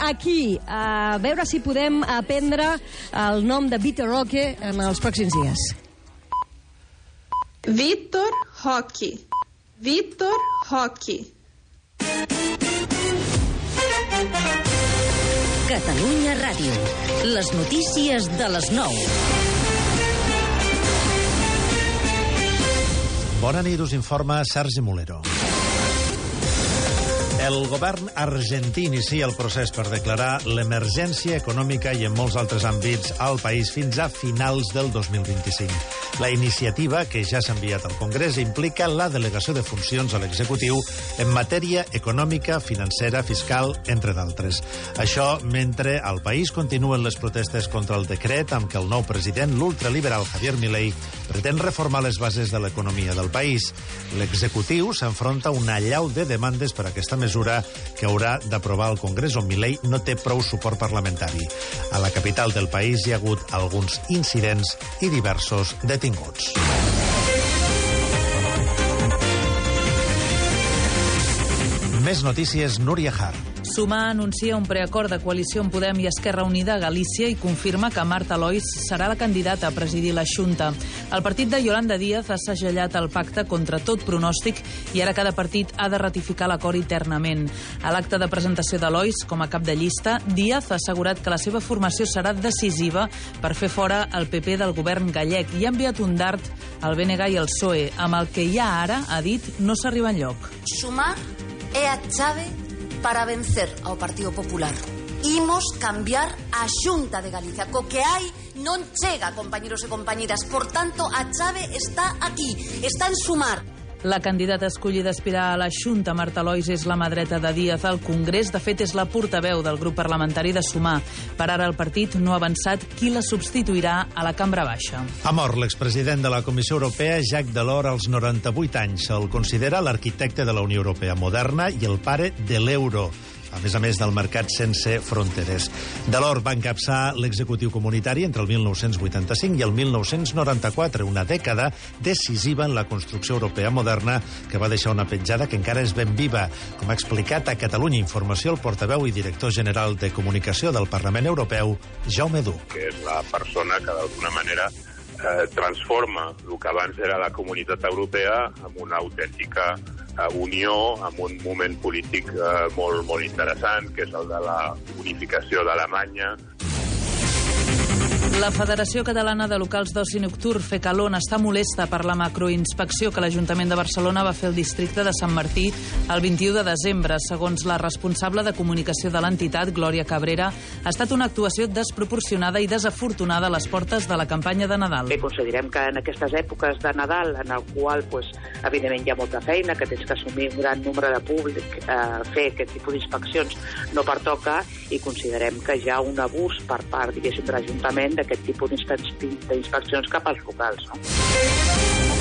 aquí a veure si podem aprendre el nom de Vita Roque en els pròxims dies. Vitor Roque. Vitor Roque. Catalunya Ràdio. Les notícies de les 9. Bona nit, us informa Sergi Molero. El govern argentí inicia el procés per declarar l'emergència econòmica i en molts altres àmbits al país fins a finals del 2025. La iniciativa, que ja s'ha enviat al Congrés, implica la delegació de funcions a l'executiu en matèria econòmica, financera, fiscal, entre d'altres. Això mentre al país continuen les protestes contra el decret amb què el nou president, l'ultraliberal Javier Milei, pretén reformar les bases de l'economia del país. L'executiu s'enfronta a una llau de demandes per aquesta mesura que haurà d'aprovar el Congrés on Milei no té prou suport parlamentari. A la capital del país hi ha hagut alguns incidents i diversos detinguts. Més notícies, Núria Hart. Sumar anuncia un preacord de coalició amb Podem i Esquerra Unida a Galícia i confirma que Marta Lois serà la candidata a presidir la Junta. El partit de Yolanda Díaz ha segellat el pacte contra tot pronòstic i ara cada partit ha de ratificar l'acord internament. A l'acte de presentació de Lois com a cap de llista, Díaz ha assegurat que la seva formació serà decisiva per fer fora el PP del govern gallec i ha enviat un dart al BNG i al PSOE, E, amb el que ja ara, ha dit, no s'arriba enlloc. Sumar é a chave para vencer ao Partido Popular. Imos cambiar a Xunta de Galicia. Co que hai non chega, compañeros e compañeras. Por tanto, a chave está aquí, está en sumar. La candidata escollida a aspirar a la Junta, Marta Lois, és la mà dreta de Díaz al Congrés. De fet, és la portaveu del grup parlamentari de Sumar. Per ara, el partit no ha avançat qui la substituirà a la cambra baixa. Ha mort l'expresident de la Comissió Europea, Jacques Delors, als 98 anys. El considera l'arquitecte de la Unió Europea moderna i el pare de l'euro a més a més del mercat sense fronteres. Delors va encapçar l'executiu comunitari entre el 1985 i el 1994, una dècada decisiva en la construcció europea moderna que va deixar una petjada que encara és ben viva. Com ha explicat a Catalunya Informació el portaveu i director general de comunicació del Parlament Europeu, Jaume Duc. que és la persona que d'alguna manera eh, transforma el que abans era la comunitat europea en una autèntica eh, unió, amb un moment polític eh, molt, molt interessant, que és el de la unificació d'Alemanya, La Federació Catalana de Locals d'Oci Nocturn, Fecalon, està molesta per la macroinspecció que l'Ajuntament de Barcelona va fer al districte de Sant Martí el 21 de desembre. Segons la responsable de comunicació de l'entitat, Glòria Cabrera, ha estat una actuació desproporcionada i desafortunada a les portes de la campanya de Nadal. Bé, doncs, considerem que en aquestes èpoques de Nadal, en el qual, pues, evidentment, hi ha molta feina, que tens que assumir un gran nombre de públic, eh, fer aquest tipus d'inspeccions no pertoca i considerem que hi ha un abús per part, diguéssim, de l'Ajuntament d'aquest tipus d'inspec- d'inspeccions cap als locals. No?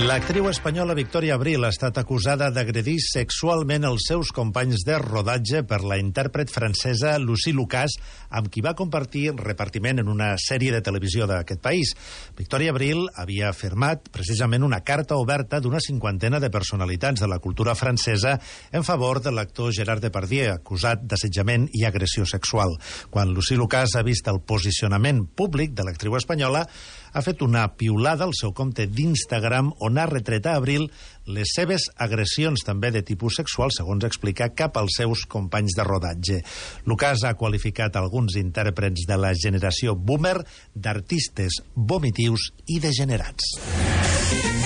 L'actriu espanyola Victoria Abril ha estat acusada d'agredir sexualment els seus companys de rodatge per la intèrpret francesa Lucie Lucas, amb qui va compartir repartiment en una sèrie de televisió d'aquest país. Victoria Abril havia firmat precisament una carta oberta d'una cinquantena de personalitats de la cultura francesa en favor de l'actor Gerard Depardieu, acusat d'assetjament i agressió sexual. Quan Lucie Lucas ha vist el posicionament públic de l'actriu espanyola, ha fet una piulada al seu compte d'Instagram on ha retret a Abril les seves agressions també de tipus sexual, segons explica, cap als seus companys de rodatge. Lucas ha qualificat alguns intèrprets de la generació boomer d'artistes vomitius i degenerats.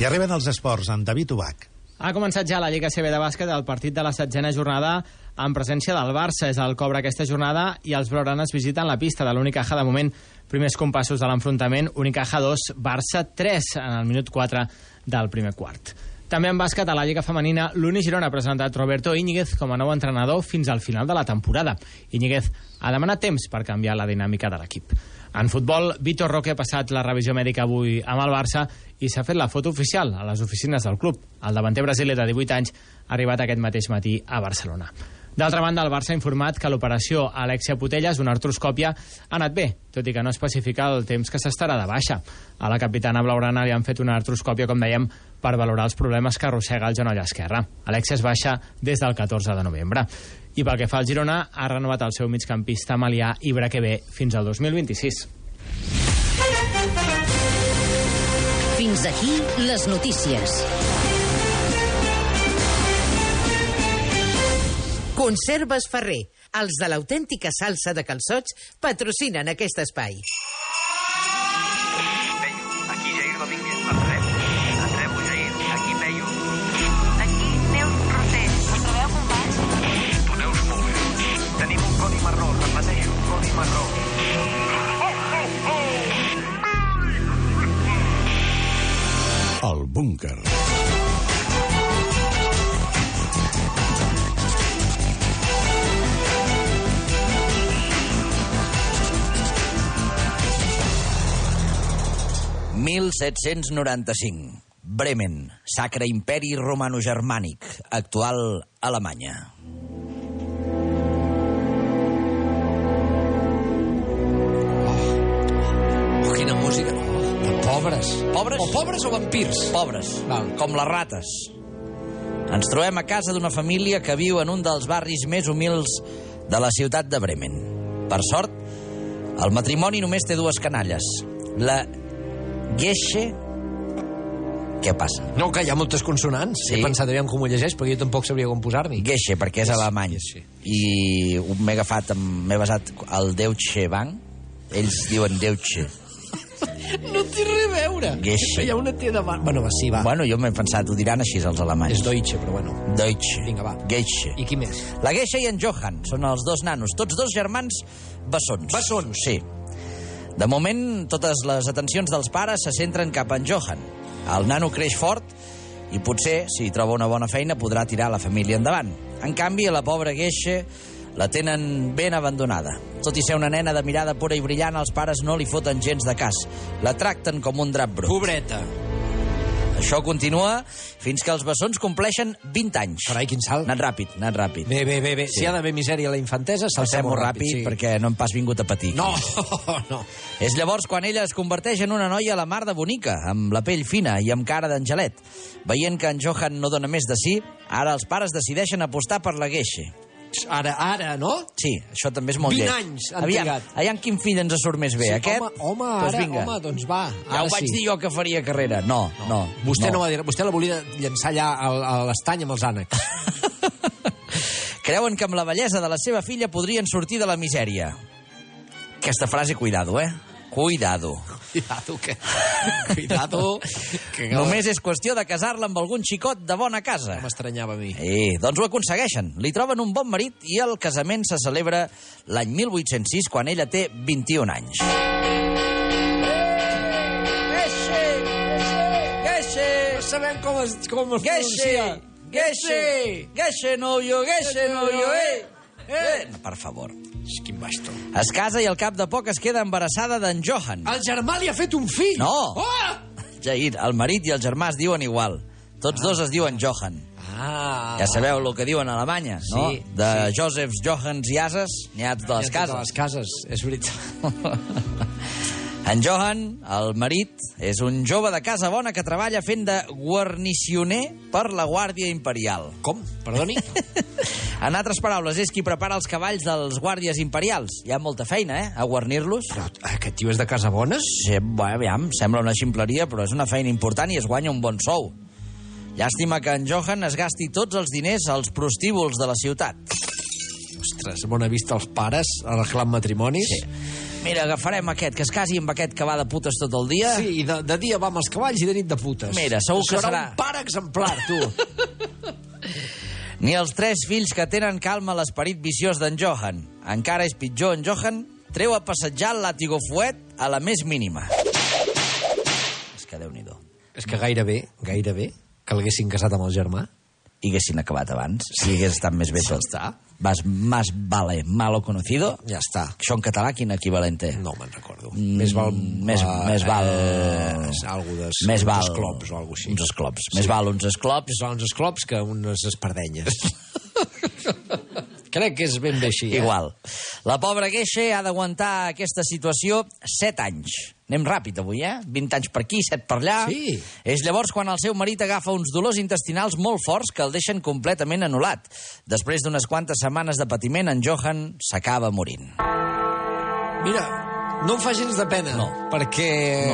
I arriben els esports amb David Ubach. Ha començat ja la Lliga CB de bàsquet al partit de la setzena jornada en presència del Barça. És el cobra aquesta jornada i els blaugranes visiten la pista de l'Unicaja de moment. Primers compassos de l'enfrontament, Unicaja 2, Barça 3 en el minut 4 del primer quart. També en bàsquet a la Lliga Femenina, l'Uni Girona ha presentat Roberto Íñiguez com a nou entrenador fins al final de la temporada. Íñiguez ha demanat temps per canviar la dinàmica de l'equip. En futbol, Vitor Roque ha passat la revisió mèdica avui amb el Barça i s'ha fet la foto oficial a les oficines del club. El davanter brasiler de 18 anys ha arribat aquest mateix matí a Barcelona. D'altra banda, el Barça ha informat que l'operació a Alexia Putellas, una artroscòpia, ha anat bé, tot i que no especifica el temps que s'estarà de baixa. A la capitana Blaurana li han fet una artroscòpia, com dèiem, per valorar els problemes que arrossega el genoll esquerre. Alexia es baixa des del 14 de novembre. I pel que fa al Girona, ha renovat el seu migcampista Malià Ibraquebé fins al 2026. Fins aquí les notícies. Conserves Ferrer, els de l'autèntica salsa de calçots, patrocinen aquest espai. Veio, aquí Jair Domínguez, el rep. Et rebo, Jair. Aquí Veio. Aquí Neus Roser. Us trobeu, companys? Tu, Neus, molt bé. Tenim un codi marró, repeteixo, un codi marró. El búnquer. ...1795. Bremen, Sacre Imperi Romano-Germànic, actual Alemanya. Oh, quina música. Oh, de pobres. Pobres? O pobres o vampirs. Pobres, Val. com les rates. Ens trobem a casa d'una família que viu en un dels barris més humils de la ciutat de Bremen. Per sort, el matrimoni només té dues canalles. La Gesche... Què passa? No, que hi ha moltes consonants. Sí. He pensat, aviam com ho llegeix, perquè jo tampoc sabria com posar-n'hi. Gesche, perquè és Gesche, alemany. Gesche. I ho- m'he agafat, amb- m'he basat al Deutsche Bank. Ells diuen Deutsche. No té res a veure. Gesche. Hi ha una té davant. Bueno, va, sí, va. Bueno, jo m'he pensat, ho diran així els És alemanys. Deutsche, però bueno. Deutsche. Vinga, va. Gesche. I qui més? La Geisha i en Johan són els dos nanos, tots dos germans bessons. Bessons. Sí. De moment, totes les atencions dels pares se centren cap en Johan. El nano creix fort i potser, si troba una bona feina, podrà tirar la família endavant. En canvi, a la pobra Geisha la tenen ben abandonada. Tot i ser una nena de mirada pura i brillant, els pares no li foten gens de cas. La tracten com un drap brut. Pobreta. Això continua fins que els bessons compleixen 20 anys. Carai, quin salt. Anat ràpid, anat ràpid. Bé, bé, bé, bé. Sí. Si ha d'haver misèria a la infantesa, saltem Passem-ho ràpid, sí. perquè no hem pas vingut a patir. No, no. És llavors quan ella es converteix en una noia a la mar de bonica, amb la pell fina i amb cara d'angelet. Veient que en Johan no dona més de sí, ara els pares decideixen apostar per la Gueixe. Ara, ara, no? Sí, això també és molt 20 lleig. anys han aviam, trigat. aviam quin fill ens surt més bé. Sí, Aquest? Home, home ara, doncs vinga. home, doncs va. ja ara ho vaig sí. dir jo que faria carrera. No, no. Vostè, no. va dir, vostè la volia llançar allà al- a l'estany amb els ànecs. Creuen que amb la bellesa de la seva filla podrien sortir de la misèria. Aquesta frase, cuidado, eh? Cuidado. Cuidado, que... Cuidado. Que Només és qüestió de casar-la amb algun xicot de bona casa. No M'estranyava a mi. Eh, doncs ho aconsegueixen. Li troben un bon marit i el casament se celebra l'any 1806, quan ella té 21 anys. Geixe! Geixe! No sabem com es, com es Geixe! Geixe! Geixe, no, jo, geixe, no, jo, eh! Eh! Per favor. Quin basto. Es casa i al cap de poc es queda embarassada d'en Johan. El germà li ha fet un fill! No. Ah, Oh! Jair, el marit i el germà es diuen igual. Tots dos es diuen Johan. Ah! Ja sabeu el que diuen a Alemanya, no? Sí, De Josephs, Johans i Ases, nyats de Ja les totes cases. Les cases, és veritat. En Johan, el marit, és un jove de casa bona que treballa fent de guarnicioner per la Guàrdia Imperial. Com? Perdoni? En altres paraules, és qui prepara els cavalls dels guàrdies imperials. Hi ha molta feina, eh?, a guarnir-los. Però eh, aquest tio és de casa bones? Sí, bé, aviam, sembla una ximpleria, però és una feina important i es guanya un bon sou. Llàstima que en Johan es gasti tots els diners als prostíbuls de la ciutat. Ostres, bona vista als pares arreglant matrimonis. Sí. Mira, agafarem aquest, que es casi amb aquest que va de putes tot el dia. Sí, i de, de dia va amb els cavalls i de nit de putes. Mira, segur que serà... serà- un pare exemplar, tu. Ni els tres fills que tenen calma l'esperit viciós d'en Johan. Encara és pitjor en Johan, treu a passejar el làtigo fuet a la més mínima. És que déu nhi és que gairebé, gairebé, que l'haguessin casat amb el germà. I haguessin acabat abans, si hagués estat més bé tot. Està. Vas, más vale malo conocido. Ja està. Això en català quin equivalent té? No me'n recordo. Mm, més val... més, eh, més val... Eh, algo de, més val, uns esclops o alguna cosa així. Uns esclops. Més val uns esclops Més val uns esclops que unes espardenyes. Crec que és ben bé així. Eh? Igual. La pobra Gueixe ha d'aguantar aquesta situació 7 anys. Anem ràpid avui, eh? 20 anys per aquí, 7 per allà. Sí. És llavors quan el seu marit agafa uns dolors intestinals molt forts que el deixen completament anul·lat. Després d'unes quantes setmanes de patiment, en Johan s'acaba morint. Mira, no em fa gens de pena, no. perquè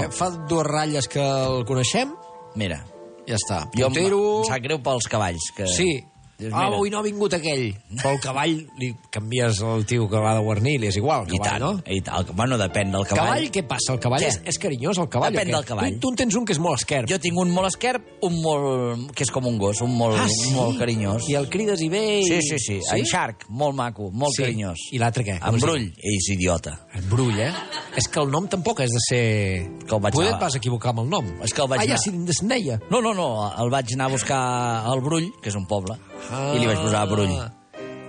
no. fa dues ratlles que el coneixem. Mira. Ja està. Jo em, Puntero... em sap greu pels cavalls. Que... Sí. Ah, avui no ha vingut aquell. Però el cavall li canvies el tio que va de guarnir, li és igual, el I cavall, tant, no? i tal. Bueno, depèn del Cavall, cavall. què passa? El cavall Què? és, és carinyós, el cavall? Depèn o què? del cavall. Tu, tu en tens un que és molt esquerp. Jo tinc un molt esquerp, un molt... que és com un gos, un molt, Ah, ah, sí? sí? molt carinyós. I el crides i ve... I... Sí, sí, sí. sí? En Shark, molt maco, molt Sí. sí. carinyós. I l'altre què? En Com es diu? Brull, és idiota. En Brull, eh? És que el nom tampoc has de ser... Que el vaig Poder anar- et vas equivocar amb el nom. És que el vaig ah, ja, anar- si es neia. No, no, no, el vaig anar a buscar al Brull, que és un poble, ah. i li vaig posar Brull.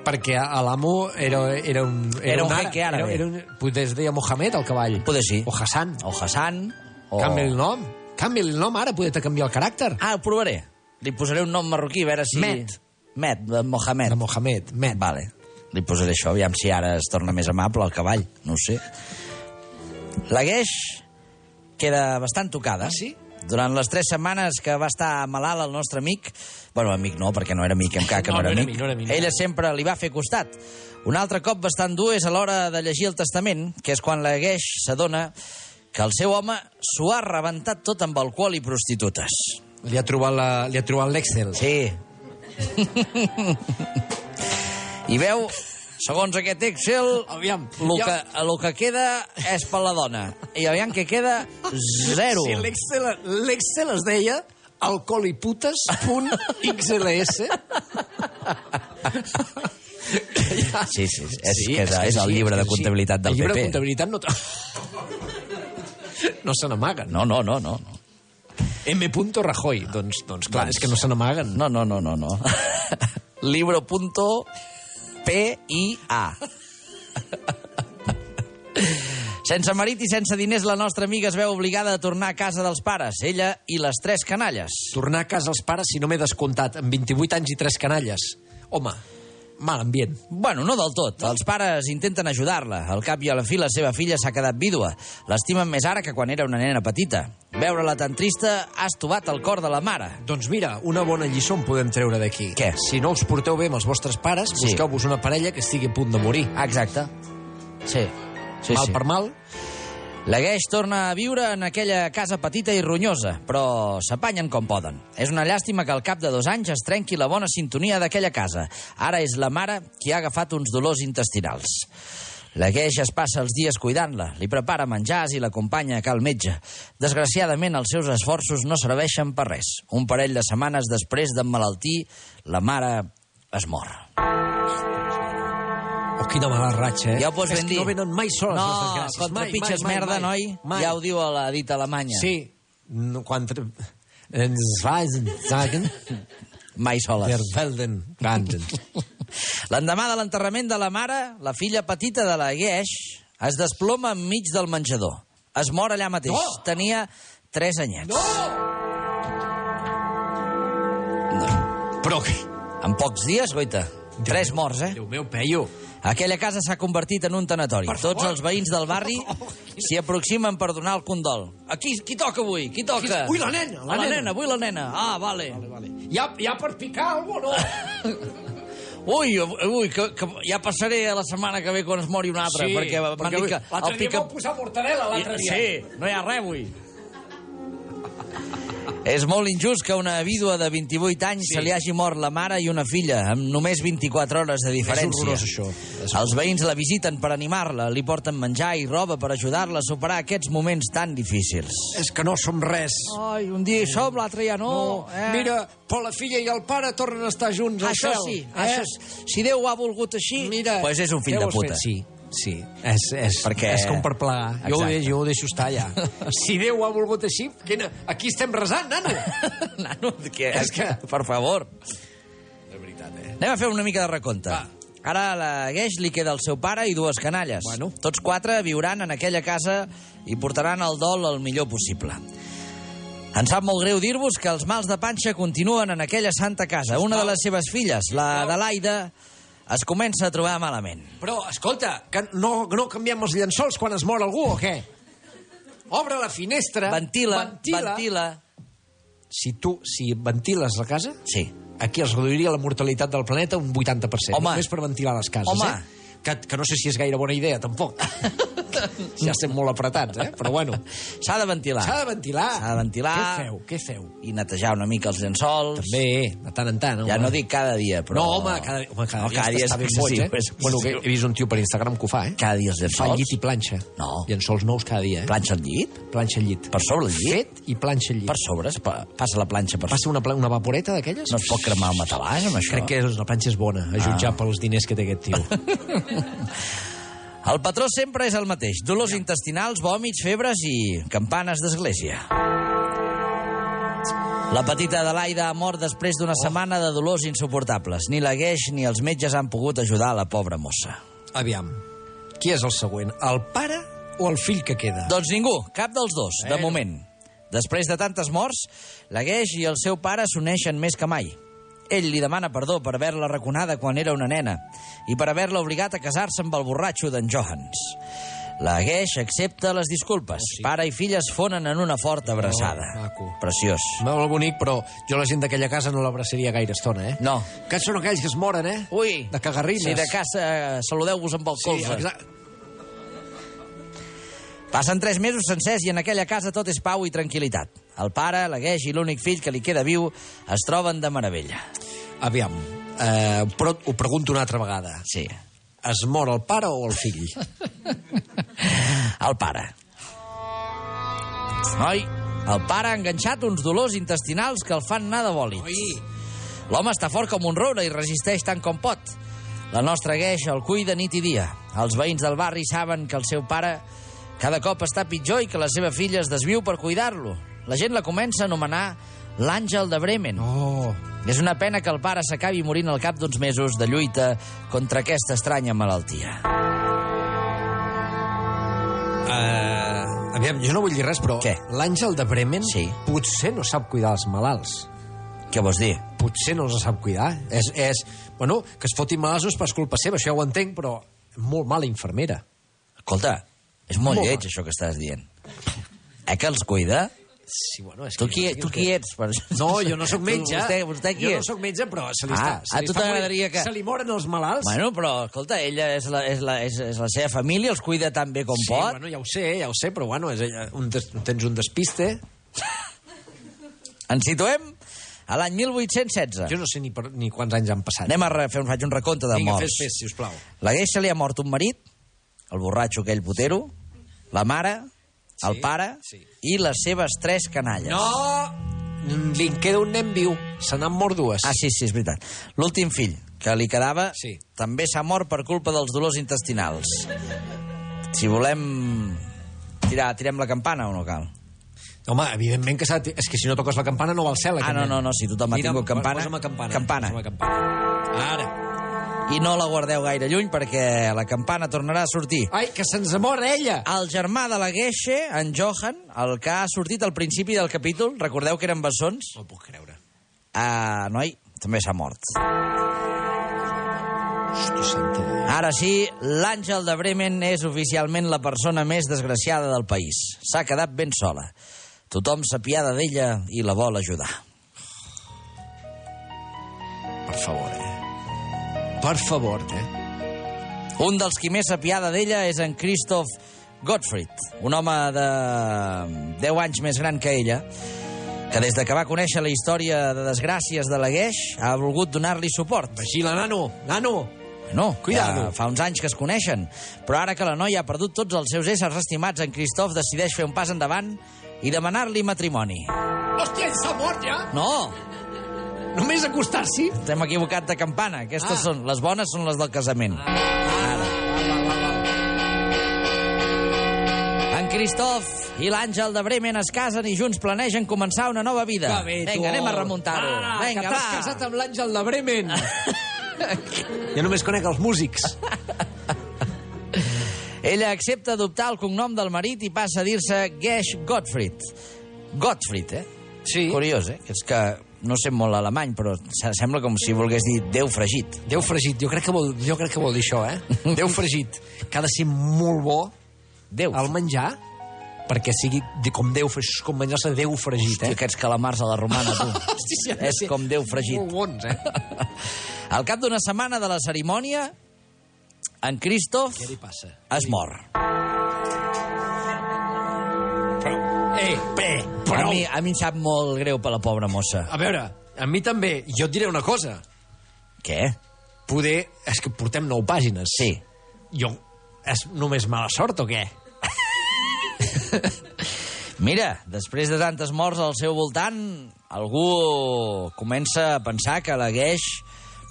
Perquè a l'amo era, era un... Era un ara- jeque àrabe. Era, era un, poder es deia Mohamed, el cavall. Poder sí. O Hassan. O Hassan, o... Oh. Canvia el nom. Canvia el nom ara, poder te canviar el caràcter. Ah, el provaré. Li posaré un nom marroquí, a veure si... Met. Met, de Mohamed. De Mohamed, Met. Vale. Li posaré això, aviam si ara es torna més amable el cavall, no ho sé. La Gueix queda bastant tocada. Ah, sí? Durant les tres setmanes que va estar malalt el nostre amic... Bueno, amic no, perquè no era amic, em cac, que no, era amic. no era amic, no. Ella sempre li va fer costat. Un altre cop bastant dur és a l'hora de llegir el testament, que és quan la Gueix s'adona que el seu home s'ho ha rebentat tot amb alcohol i prostitutes. Li ha trobat la, li ha trobat l'Excel. Sí. I veu, segons aquest Excel, Aviam, el jo- que, el que queda és per la dona. I aviam que queda zero. Sí, l'Excel l'Excel es deia alcoholiputes.xls Sí, sí, és, que és, és el llibre de comptabilitat del el llibre de PP. comptabilitat no... no se n'amaguen. No, no, no, no. no. M. Rajoy. Doncs, doncs clar, és que no se n'amaguen. No, no, no, no, no. Libro punto P i A. Sense marit i sense diners, la nostra amiga es veu obligada a tornar a casa dels pares, ella i les tres canalles. Tornar a casa als pares si no m'he descomptat. Amb 28 anys i tres canalles. Home, mal ambient. Bueno, no del tot. Els pares intenten ajudar-la. Al cap i a la fi, la seva filla s'ha quedat vídua. L'estimen més ara que quan era una nena petita. Veure-la tan trista ha estovat el cor de la mare. Doncs mira, una bona lliçó en podem treure d'aquí. Què? Si no us porteu bé amb els vostres pares, Sí. busqueu-vos una parella que estigui a punt de morir. Exacte. Sí. Sí, mal sí. per mal, La Gueix torna a viure en aquella casa petita i ronyosa, però s'apanyen com poden. És una llàstima que al cap de dos anys es trenqui la bona sintonia d'aquella casa. Ara és la mare qui ha agafat uns dolors intestinals. La Gueix es passa els dies cuidant-la, li prepara menjars i l'acompanya a cal metge. Desgraciadament, els seus esforços no serveixen per res. Un parell de setmanes després d'emmalaltir, la mare es mor. Oh, quina mala ratxa, eh? Ja ho pots És ben que dir. no venen mai soles les desgràcies. contra mai, pitxes mai, mai, merda, mai, noi. Mai. Ja ho diu a la dita alemanya. Sí. No, Quan... tre- Ens weisen, sagen, Mai soles. der Felden, Gansen. L'endemà de l'enterrament de la mare, la filla petita de la Gueix es desploma enmig del menjador. Es mor allà mateix. No! Tenia 3 anyets. Però, En pocs dies, goita, 3 morts, eh? Déu meu, Peyu, Aquella casa s'ha convertit en un tanatori. Tots els veïns del barri Oh, s'hi aproximen per donar el condol. Aquí, qui toca avui? Qui toca? Ui, la nena, la la nena. nena, avui la nena. Ah, vale. vale, vale. hi ha, hi ha per picar alguna cosa, no? Ui, ui, que, que ja passaré a la setmana que ve quan es mori un altre, perquè m'han dit que L'altre el dia pica... vau posar mortadela, l'altre dia. Sí, no hi ha res avui. És molt injust que a una vídua de 28 anys sí. se li hagi mort la mare i una filla, amb només 24 hores de diferència. horrorós, això. És Els veïns la visiten per animar-la, li porten menjar i roba per ajudar-la a superar aquests moments tan difícils. És que no som res. Ai, un dia hi som, l'altre ja no. eh? Mira, però la filla i el pare tornen a estar junts al Això cel. eh? sí, això sí. Si Déu ho ha volgut així, Mira, pues és un fill què de vols puta. fer? Sí, sí. És, és, Perquè- és com per plegar. Jo ho, Exacte. deixo, jo ho deixo estar allà. si Déu ho ha volgut així, quina... aquí estem resant, nano. Nano, que, És que- per favor. de veritat, eh? Anem a fer una mica de recompte. Va. Ara a la Gueix li queda el seu pare i dues canalles. Bueno. Tots quatre viuran en aquella casa i portaran el dol el millor possible. Em sap molt greu dir-vos que els mals de panxa continuen en aquella santa casa. Una de les seves filles, la Adelaida, es comença a trobar malament. Però, Ah, escolta, que no, no canviem els llençols quan es mor algú, o què? Obre la finestra... Ventila, ventila. ventila. Si tu, si ventiles la casa... Sí. Aquí es reduiria la mortalitat del planeta un 80%. Home. Només per ventilar les cases, Home. eh? Que, que no sé si és gaire bona idea, tampoc. ja estem molt apretats, eh? Però bueno. S'ha de ventilar. S'ha de ventilar. S'ha de ventilar. Què feu? Què feu? I netejar una mica els llençols. També, de tant en tant. Home. Ja no dic cada dia, però... No, home, cada, home, cada, no, cada dia està és ben boig, eh? excessiu, és Bueno, que he vist un tio per Instagram que ho fa, eh? Cada dia els Fa llençols. llit i planxa. No. Llençols nous cada dia, eh? Planxa el llit? Planxa el llit. Per sobre el llit? Fet i planxa el llit. Per sobre, es pa, passa la planxa per Passa una, pla- una vaporeta d'aquelles? No es pot cremar el matalàs amb això? Crec que és- la planxa és bona, a jutjar pels diners que té aquest tio. El patró sempre és el mateix. Dolors intestinals, vòmits, febres i campanes d'església. La petita Adelaida ha mort després d'una Oh. setmana de dolors insuportables. Ni la Gueix ni els metges han pogut ajudar la pobra mossa. Aviam, qui és el següent? El pare o el fill que queda? Doncs ningú, cap dels dos, de Eh, no. moment. Després de tantes morts, la Gueix i el seu pare s'uneixen més que mai. Ell li demana perdó per haver-la raconada quan era una nena i per haver-la obligat a casar-se amb el borratxo d'en Johans. La Gueix accepta les disculpes. Pare i filla es fonen en una forta abraçada. maco. Preciós. Molt bonic, però jo la gent d'aquella casa no l'abraçaria gaire estona, eh? No. Que són aquells que es moren, eh? Ui, De cagarrines. si de casa saludeu-vos amb el Sí, colze. exacte. Passen tres mesos sencers i en aquella casa tot és pau i tranquil·litat. El pare, la Gueix i l'únic fill que li queda viu es troben de meravella. Aviam, eh, però ho pregunto una altra vegada. Sí. Es mor el pare o el fill? El pare. Noi, el pare ha enganxat uns dolors intestinals que el fan anar de bòlit. L'home està fort com un roure i resisteix tant com pot. La nostra Gueix el cuida nit i dia. Els veïns del barri saben que el seu pare cada cop està pitjor i que la seva filla es desviu per cuidar-lo. La gent la comença a anomenar l'Àngel de Bremen. Oh, És una pena que el pare s'acabi morint al cap d'uns mesos de lluita contra aquesta estranya malaltia. Eh, aviam, jo no vull dir res, però Què? l'Àngel de Bremen Sí. potser no sap cuidar els malalts. Què vols dir? Potser no els sap cuidar. És, és, bueno, que es fotin malalts no és pas culpa seva, això ja ho entenc, però molt mala infermera. Escolta, és molt Molt lleig mal. això que estàs dient. Eh que els cuida? Sí, bueno, és Tu qui, tu qui ets? Per... No, jo no sóc metge. Vostè, vostè qui jo no és? sóc metge, però se li Ah, està... Se a li tu està morint- t'agradaria que- Se li moren els malalts? Bueno, però, escolta, ella és la, és, la, és, és la seva família, els cuida tan bé com sí, pot. bueno, ja ho sé, ja ho sé, però bueno, és, eh, un des, tens un despiste. Ens situem a l'any 1816. Jo no sé ni, per, ni quants anys han passat. Anem a re- fer, faig un recompte de Vinga, morts. fes, fes, sisplau. La Geisha li ha mort un marit, el borratxo aquell putero, la mare, el Sí, pare sí. i les seves tres canalles. No! Li en queda un nen viu. Se n'han mort dues. Ah, sí, sí, és veritat. L'últim fill, que li quedava, Sí. també s'ha mort per culpa dels dolors intestinals. Si volem... Tirar, tirem la campana o no cal? Home, evidentment que s'ha... de ti- És que si no toques la campana no val cel, Ah, no, no, no, si tothom ha tingut campana. Posa'm campana. Campana. Posa'm campana. Ara. I no la guardeu gaire lluny perquè la campana tornarà a sortir. Ai, que se'ns mor ella! El germà de la Gueixe, en Johan, el que ha sortit al principi del capítol, recordeu que eren bessons? No ho puc creure. Ah, noi, també s'ha mort. Hosti, santa de Déu. Ara sí, l'Àngel de Bremen és oficialment la persona més desgraciada del país. S'ha quedat ben sola. Tothom s'apiada d'ella i la vol ajudar. Per favor, eh? Per favor, eh? Un dels qui més s'apiada d'ella és en Christoph Gottfried, un home de 10 anys més gran que ella, que des de que va conèixer la història de desgràcies de la Gueix ha volgut donar-li suport. Vigila, nano! Nano! No, Cuidado. ja fa uns anys que es coneixen, però ara que la noia ha perdut tots els seus éssers estimats, en Christoph decideix fer un pas endavant i demanar-li matrimoni. Hòstia, s'ha mort ja? No, Només acostar-s'hi? Estem equivocat de campana. Aquestes Ah. són, les bones són les del casament. Ara. En Christoph i l'Àngel de Bremen es casen i junts planegen començar una nova vida. Que bé, tu. Vinga, anem a remuntar-ho. Ah, Vinga, que t'has casat amb l'Àngel de Bremen. va. jo només conec els músics. Ella accepta adoptar el cognom del marit i passa a dir-se Gesh Gottfried. Gottfried, eh? Sí. Curiós, eh? És que no sé molt alemany, però se- sembla com si volgués dir Déu fregit. Déu fregit, jo crec que vol, jo crec que vol dir això, eh? Déu fregit, que ha de ser molt bo Déu. al menjar perquè sigui de- com Déu, fre- com menjar-se Déu fregit, Hòstia, eh? aquests calamars a la romana, tu. Hosti, sí, ha de És ser com Déu fregit. Molt bons, eh? Al cap d'una setmana de la cerimònia, en Christoph Què li passa? es mor. Eh, bé, A però... mi, a mi em sap molt greu per la pobra mossa. A veure, a mi també, jo et diré una cosa. Què? Poder... És que portem nou pàgines. Sí. Jo... És només mala sort o què? Mira, després de tantes morts al seu voltant, algú comença a pensar que la gueix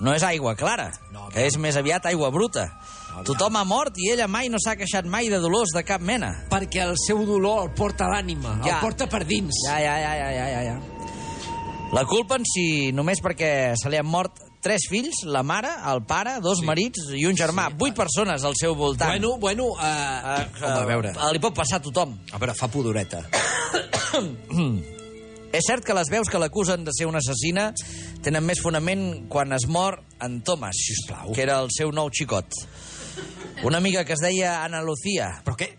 no és aigua clara, no, que és més aviat aigua bruta. No, Tothom ha mort i ella mai no s'ha queixat mai de dolors de cap mena. Perquè el seu dolor el porta l'ànima, ja. Ja. el porta per dins. Ja, ja, ja, ja, ja, ja, ja. La culpen si només perquè se li han mort tres fills, la mare, el pare, dos sí. marits i un germà. Sí. Vuit persones al seu voltant. Bueno, bueno... Uh, uh, home, a veure... eh, Li pot passar a tothom. A veure, fa pudoreta. És cert que les veus que l'acusen de ser una assassina tenen més fonament quan es mor en Thomas, Sisplau. que era el seu nou xicot. Una amiga que es deia Ana Lucía. Però què?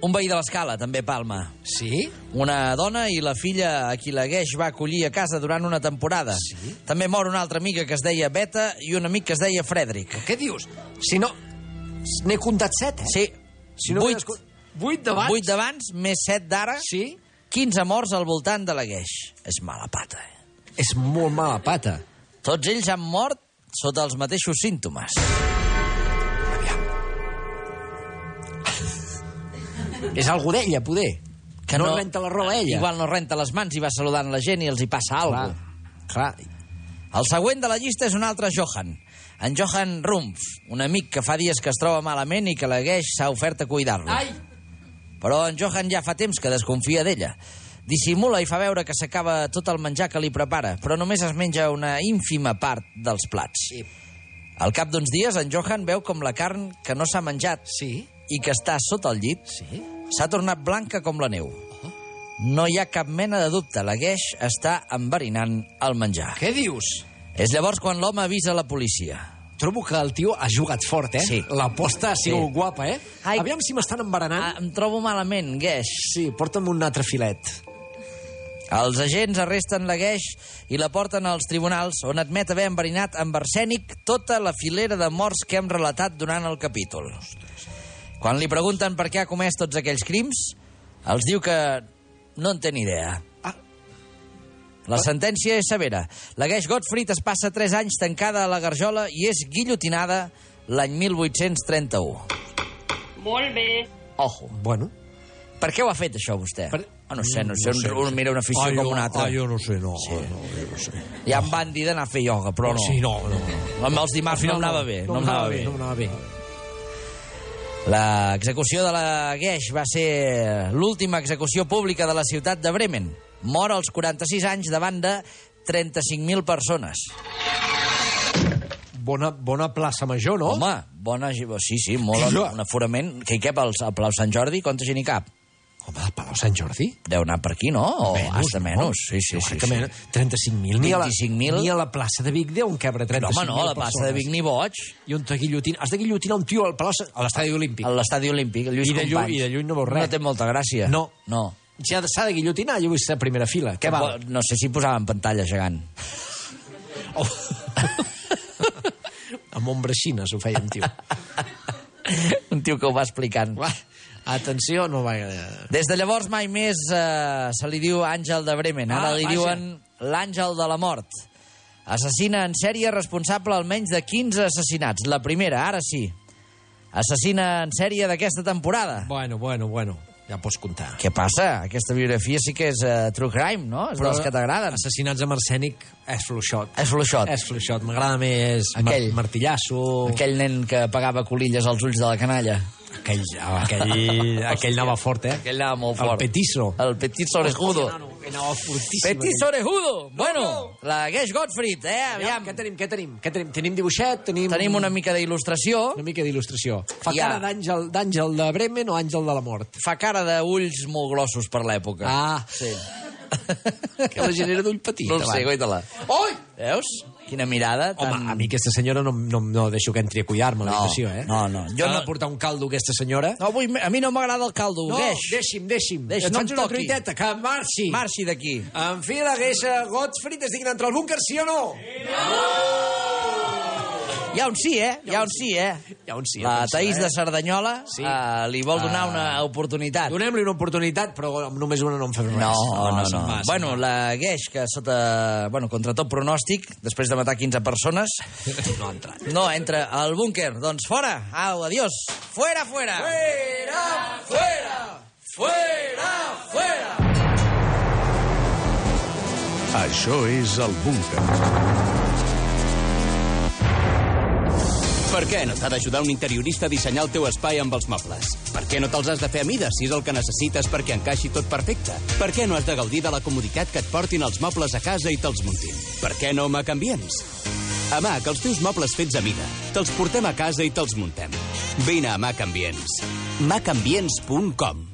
Un veí de l'escala, també Palma. Sí? Una dona i la filla a qui la Gueix va acollir a casa durant una temporada. Sí? També mor una altra amiga que es deia Beta i un amic que es deia Frederic. Què dius? Si no... N'he comptat set, eh? Sí. Si no Vuit. Vuit. Vuit d'abans? Vuit d'abans, més set d'ara. Sí? 15 morts al voltant de la Gueix. És mala pata, eh? És molt mala pata. Tots ells han mort sota els mateixos símptomes. És algú d'ella, poder. Que no renta la roba ella. Igual no renta les mans i va saludant la gent i els hi passa Clar, alguna clar. El següent de la llista és un altre Johan. En Johan Rumpf, un amic que fa dies que es troba malament i que la Gueix s'ha ofert a cuidar-lo. Ai! Però en Johan ja fa temps que desconfia d'ella. Dissimula i fa veure que s'acaba tot el menjar que li prepara, però només es menja una ínfima part dels plats. Sí. Al cap d'uns dies, en Johan veu com la carn que no s'ha menjat Sí? i que està sota el llit Sí? Oh. s'ha tornat blanca com la neu. No hi ha cap mena de dubte, la Gueix està enverinant el menjar. Què dius? És llavors quan l'home avisa la policia. Trobo que el tio ha jugat fort, eh? Sí. L'aposta ha sigut Sí. guapa, eh? Ai. Aviam si m'estan Ah, embaranant. em trobo malament, Gueix. Sí, porta'm un altre filet. Els agents arresten la Gueix i la porten als tribunals, on admet haver enverinat amb arsènic tota la filera de morts que hem relatat durant el capítol. Quan li pregunten per què ha comès tots aquells crims, els diu que no en té ni idea. Ah. La sentència és severa. La Gueix Gottfried es passa 3 anys tancada a la Garjola i és guillotinada l'any 1831. Molt bé. Ojo. Bueno. Per què ho ha fet, això, vostè? Per... Per- Oh, no sé, no sé, un, un, mira una afició Ai, com jo- una altra. ai, jo no sé, no. Eh, no, jo no sé. Ja em van dir d'anar a fer ioga, però no. Oh, Sí, no, no. Amb els dimarts no, em anava bé. No, em anava bé. No em anava bé. L'execució de la Gueix va ser l'última execució pública de la ciutat de Bremen. Mor als 46 anys davant de 35.000 persones. Bona, bona plaça major, no? Home, bona... gi- Sí, sí, molt Sí, un aforament. Que hi cap al, al Palau Sant Jordi? Quanta gent hi cap? Home, el Palau Sant Jordi? Deu anar per aquí, no? O hasta menys. Sí, sí, Jo sí. crec que sí. menys. 35.000. Ni a la- 25.000. Ni a la plaça de Vic deuen cabre 35.000 No, home, no, a la plaça de persones. Vic ni boig. I on te guillotin... Has de guillotinar un tio al Palau... Sant- A l'estadi olímpic. A l'estadi olímpic, el Lluís I de lluny- Companys. i de lluny no veus res. No té molta gràcia. No. No. Ja s'ha de guillotinar, jo vull ser a primera fila. Què val? Tampoc- No sé si posaven pantalla gegant. Oh. amb ombreixines ho feia un tio. Un tio que ho va explicant. Uah, atenció, no va... eh, Des de llavors mai més eh, se li diu Àngel de Bremen. Ara Ah, li vaja. diuen l'Àngel de la Mort. Assassina en sèrie responsable almenys de 15 assassinats. La primera, ara sí. Assassina en sèrie d'aquesta temporada. Bueno, bueno, bueno, ja pots comptar. Què passa? Aquesta biografia sí que és eh, true crime, no? És dels que t'agraden. Assassinats amb arsènic és fluixot. És fluixot. És fluixot. M'agrada més Aquell. Mar martillasso... Aquell nen que pagava colilles als ulls de la canalla. Aquell, aquell, aquell anava fort, eh? Aquell anava molt fort. El petiso. El petit sobrejudo. Anava fortíssim. eh? Petit aquell. sobrejudo! Bueno, la Gueix Gottfried, eh? Aviam. Què tenim, què tenim? Què tenim? Tenim dibuixet, tenim... Tenim una mica d'il·lustració. Una mica d'il·lustració. Fa Ja. cara d'àngel d'àngel de Bremen o àngel de la mort? Fa cara d'ulls molt grossos per l'època. Ah. Sí. que la genera d'ull petit. No el sé, guaita-la. Oi! Veus? Quina mirada tan... Home, a mi aquesta senyora no, no, no deixo que entri a cuidar-me no, l'habitació, eh? no, no. Jo Jo no... no- portar un caldo, aquesta senyora? Ah, No, vull, a mi no m'agrada el caldo, No, Gueix. deixi'm, deixi'm. Deix, Et no em faig una toqui. truiteta, que marxi. Ah. Marxi d'aquí. En fi, la gueixa eh, Gottfried es digna entrar al búnquer, sí o no? Hi ha un sí, eh? Hi ha un sí, eh? Hi ha un sí. La atenció, Taís eh? de Cerdanyola Sí. eh, li vol donar Ah. una oportunitat. Donem-li una oportunitat, però només una no em fa res. No, no, se'n no. va, se'n Bueno, la Gueix, que sota... Bueno, contra tot pronòstic, després de matar 15 persones... No ha entrat. No, entra al búnquer. Doncs fora. Au, adiós. Fuera, fuera. Fuera, fuera, fuera, fuera. Això és el búnquer. Per què no t'ha d'ajudar un interiorista a dissenyar el teu espai amb els mobles? Per què no te'ls has de fer a mida si és el que necessites perquè encaixi tot perfecte? Per què no has de gaudir de la comoditat que et portin els mobles a casa i te'ls muntin? Per què no Hamac Ambients? Hamac, els teus mobles fets a mida. Te'ls portem a casa i te'ls muntem. Vine a Hamac Ambients. macambients.com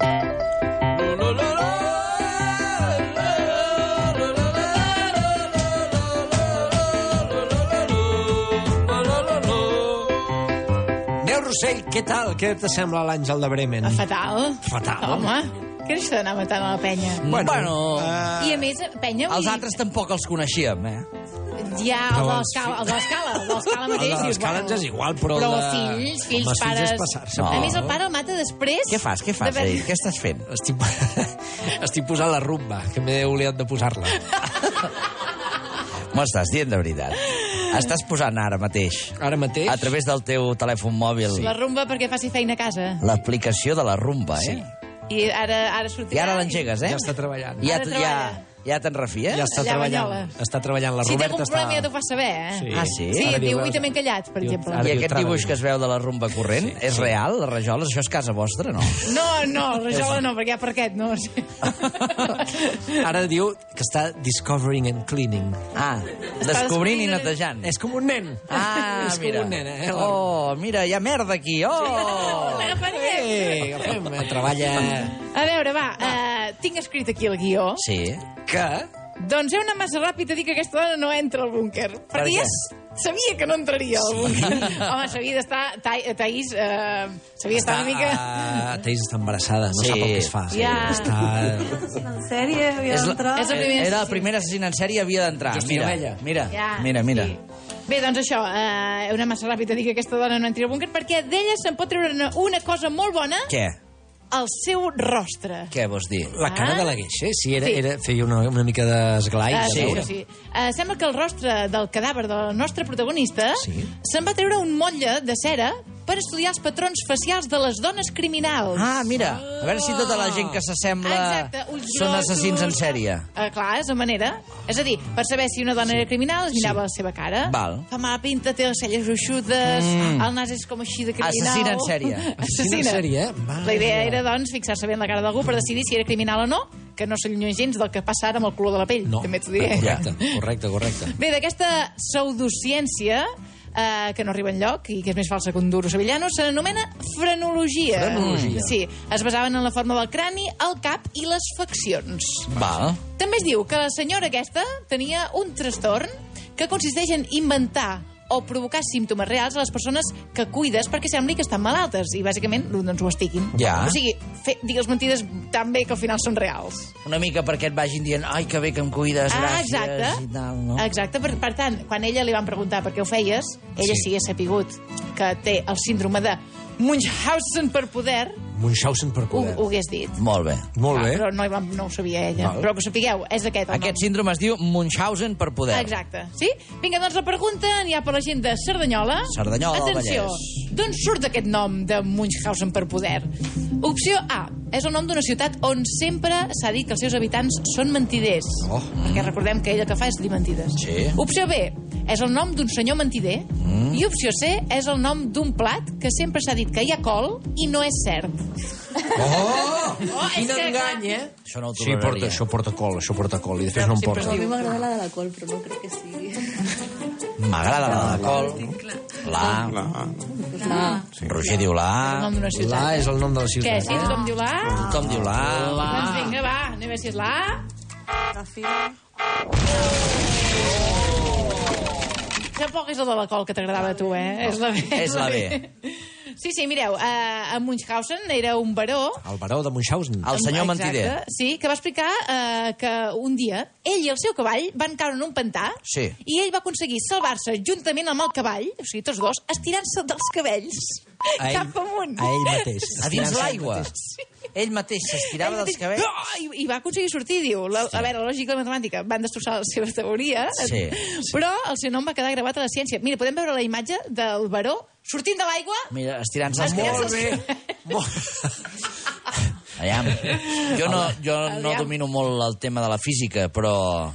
Neu Rossell, què tal? Què te sembla l'Àngel de Bremen? Fatal. Fatal. Home, que no s'ha d'anar matant a la penya. Bueno, Bueno, eh, I a més, penya... vull Els dir, altres tampoc els coneixíem, eh? Ja, No, el de els l'escala, el de l'escala, el de l'escala mateix. El de dius, l'escala bueno, ens és igual, però Però el de- fills, fills, Home, els fills pares... és passar-se, A no. més, el pare el mata després... Què fas, què fas, de- Eric? Què estàs fent? Estic, estic posant la rumba, que m'he oblidat de posar-la. M'ho estàs dient de veritat. Estàs posant ara mateix. Ara mateix? A través del teu telèfon mòbil. La rumba perquè faci feina a casa. L'aplicació de la rumba, eh? Sí. I ara, ara sortirà... I ara l'engegues, eh? Ja està treballant. Ja, Ara ja, treballa. ja te'n refies? Ja està Allà a treballant. Banyoles. Està treballant. La si té Roberta algun problema ja està... t'ho fa saber, eh? Sí. Ah, sí? Sí, Ara et diu, diu- avui també encallat, per exemple. I aquest dibuix que es veu de la rumba corrent sí, és real, la rajola? Això és casa vostra, no? No, no, el rajola no, perquè hi ha parquet, no. Sí. Ara diu que està discovering and cleaning. Ah, descobrint i netejant. És com un nen. Ah, és mira. com un nen, eh? Oh, mira, hi ha merda aquí. Oh! Ei, agafem, eh, treballa... A veure, va, eh, tinc escrit aquí el guió. Sí. Que? Doncs heu anat massa ràpid a dir que aquesta dona no entra al búnquer. Perquè què? ja s- sabia que no entraria al Sí? búnquer. Home, s'havia d'estar... Ta, Taís, eh, s'havia d'estar una mica... Ah, Teis està embarassada, no Sí. sap el que es fa. Ja. Està... En sèrie, havia d'entrar. És el primer Era la assassí. primera assassina en sèrie, havia d'entrar. Justina Mira, Mella. mira, Ja, mira, mira. Bé, doncs això, eh, heu anat massa ràpid a dir que aquesta dona no entri al búnquer perquè d'ella se'n pot treure una, una cosa molt bona, Què? el seu rostre. Què vols dir? La cara Ah. de la Gueixa, eh? sí, era, Sí. era, feia una, una mica d'esglai. Ah, de sí, veure. sí. Eh, sembla que el rostre del cadàver del nostre protagonista sí. se'n va treure un motlle de cera per estudiar els patrons facials de les dones criminals. Ah, mira, a veure si tota la gent que s'assembla Oh. Exacte, ulls són grossos. assassins en sèrie. Eh, clar, és la manera. És a dir, per saber si una dona era criminal, es mirava la seva cara. Val. Fa mala pinta, té les celles gruixudes, Mm. el nas és com així de criminal. Assassina en sèrie. Assassina en sèrie, eh? La idea era, doncs, fixar-se bé en la cara d'algú per decidir si era criminal o no, que no s'allunya gens del que passa ara amb el color de la pell. No. També t'ho diré. Correcte, correcte, correcte. Bé, d'aquesta pseudociència, eh, que no arriba enlloc i que és més falsa que un duro sevillano, se n'anomena frenologia. Frenologia. Sí, es basaven en la forma del crani, el cap i les faccions. Val. També es diu que la senyora aquesta tenia un trastorn que consisteix en inventar o provocar símptomes reals a les persones que cuides perquè sembli que estan malaltes i, bàsicament, doncs ho estiguin. Ja. O sigui, fer, digues mentides tan bé que al final són reals. Una mica perquè et vagin dient ai, que bé que em cuides, Ah, gràcies exacte. i tal, no? Exacte, per, per tant, quan ella li van preguntar per què ho feies, ella sí, Sí. sí que ha sapigut que té el síndrome de Munchausen per poder, Munchausen per ho, poder. ho hagués dit. Ah, Molt bé. Molt bé. Però no, hi va, no ho sabia ella. Val. Però que ho sapigueu, és aquest el Aquest síndrome es diu Munchausen per poder. Exacte, sí? Vinga, doncs la pregunta anirà per la gent de Cerdanyola. Cerdanyola, Atenció, Vallès. d'on surt aquest nom de Munchausen per poder? Opció A, és el nom d'una ciutat on sempre s'ha dit que els seus habitants són mentiders. Oh. Perquè recordem que ell el que fa és dir mentides. Sí. Opció B, és el nom d'un senyor mentider. Mm. I opció C, és el nom d'un plat que sempre s'ha dit que hi ha col i no és cert. Oh! Oh, Quin és que- engany, eh? Això no ho Sí, toleraria. porta, això porta col, això porta col, i després no en porta. A mi m'agrada la de la col, però no crec que sigui. M'agrada la de col. La. la. La. Roger diu la. El nom d'una ciutat. La és el nom de la Què, ciutat. si tothom diu la... Tothom diu la. Ah, Doncs vinga, va, anem a veure si és la... A. Tampoc és la de la col que t'agradava a tu, Ah, eh? És la B. És la B. Sí, sí, mireu, eh, a Munchausen era un baró... El baró de Munchausen. El senyor mentider. Sí, que va explicar eh, que un dia ell i el seu cavall van caure en un pantà Sí. i ell va aconseguir salvar-se juntament amb el cavall, o sigui, tots dos, estirant-se dels cabells A ell- cap amunt. a ell mateix, A A dins l'aigua. Ell mateix s'estirava dels cabells. Ah, I, I va aconseguir sortir, diu. La, a veure, la lògica i la matemàtica van destrossar la seva teoria, Sí, sí. però el seu nom va quedar gravat a la ciència. Mira, podem veure la imatge del baró sortint de l'aigua Mira, estirant-se els Estirant-se cabells. els Aviam, jo no, jo no Aviam. domino molt el tema de la física, però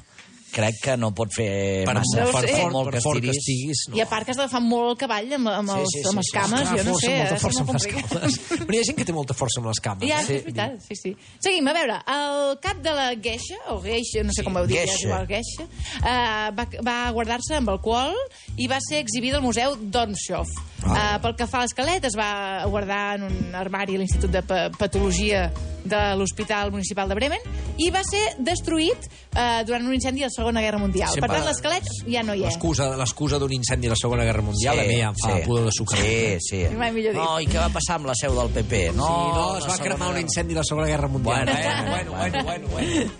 crec que no pot fer Per- massa. per Per fort- molt per fort que estiguis, I a part que has d'agafar molt el cavall amb, amb, els, sí, sí, amb les cames, Clar, jo no força, sé. Molta ha de ser força molt amb les complicat. cames. Però hi ha gent que té molta força amb les cames. eh? Ja, sí, és veritat, sí, sí. Seguim, a veure, el cap de la geisha, o geisha, no sé com ho diu, geisha. és igual, geisha, eh, va, va guardar-se amb alcohol i va ser exhibida al museu Donshof. Ah. Eh, pel que fa a l'esquelet, es va guardar en un armari a l'Institut de Pa- Patologia de l'Hospital Municipal de Bremen i va ser destruït eh, durant un incendi de la Segona Guerra Mundial. Sempre- Per tant, l'esquelet ja no hi és. L'excusa l'excusa d'un incendi de la Segona Guerra Mundial Sí, a mi ja em fa sí. pudor de sucre. Sí, sí. Mai millor dit. No, i què va passar amb la seu del PP? No, Sí, no, es la va segona cremar un guerra. incendi de la Segona Guerra Mundial. Bueno, Eh? bueno, bueno, bueno, bueno.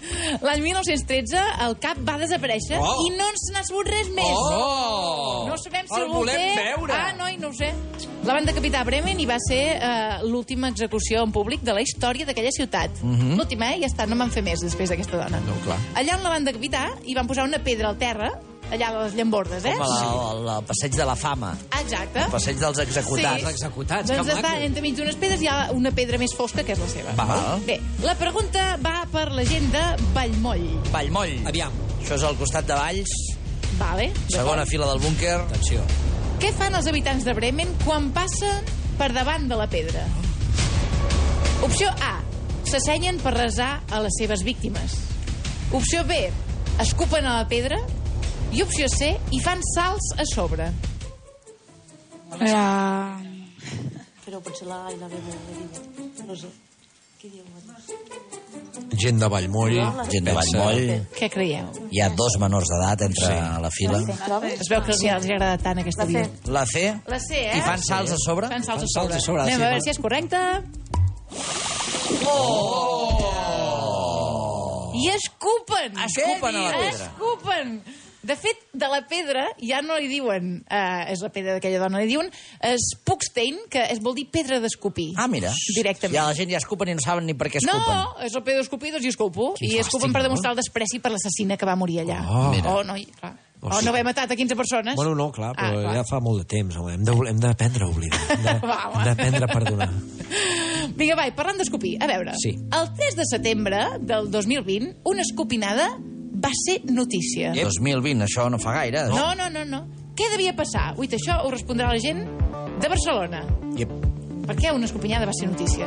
L'any 1913 el cap va desaparèixer Oh. i no ens n'ha sabut res més. Oh. No sabem si El algú volem té... veure. Ah, no, i no ho sé. La van decapitar a Bremen i va ser eh, l'última execució en públic de la història d'aquella ciutat. Mhm. L'última, eh? Ja està, no me'n fer més després d'aquesta dona. No, clar. Allà on la van decapitar i van posar una pedra al terra, allà a les llambordes, eh? Com el, el, el passeig de la fama. Exacte. El passeig dels executats. Sí. doncs està entre mig d'unes pedres hi ha una pedra més fosca, que és la seva. Val. Bé, la pregunta va per la gent de Vallmoll. Vallmoll. Aviam. Això és al costat de Valls, Vale? segona fila del búnquer. Atenció. Què fan els habitants de Bremen quan passen per davant de la pedra? Opció A. S'assenyen per resar a les seves víctimes. Opció B. Escupen a la pedra. I opció C. Hi fan salts a sobre. Ah. Però potser la A i la B molt bé. No sé. Què diu? Gent de Vallmoll. Gent de Vallmoll. Què creieu? Hi ha dos menors d'edat entre sí. la fila. Es veu que els, els hi agrada tant aquesta vida. La C. La C, eh? I fan salts a sobre? Fan salts a Fan sobre. salts a sobre, Anem sí. a veure si és correcte. Oh! I escupen! Escupen a la pedra. Escupen! De fet, de la pedra ja no li diuen... Eh, és la pedra d'aquella dona. Li diuen Spukstein, que és, vol dir pedra d'escopir. Ah, mira. Directament. Ja, la gent ja escupen i no saben ni per què escupen. No, és la pedra d'escopir, doncs hi escupo. Quin I escupen fàstic, per no? demostrar el despreci per l'assassina que va morir allà. Oh. Mira. oh no, i- clar. O Oh, sigui- no haver matat a 15 persones. Bueno, no, clar, però Ah, ah, clar. ja fa molt de temps. Home. Hem de- Hem d'aprendre a oblidar. Hem de- Va, home. Hem d'aprendre a perdonar. Vinga, vai, parlant d'escopir, a veure. Sí. El 3 de setembre del 2020, una escopinada va ser notícia. 2020, això no fa gaire. No, no, no, no. Què devia passar? Ui, això ho respondrà la gent de Barcelona. Yep. Per què una escopinada va ser notícia?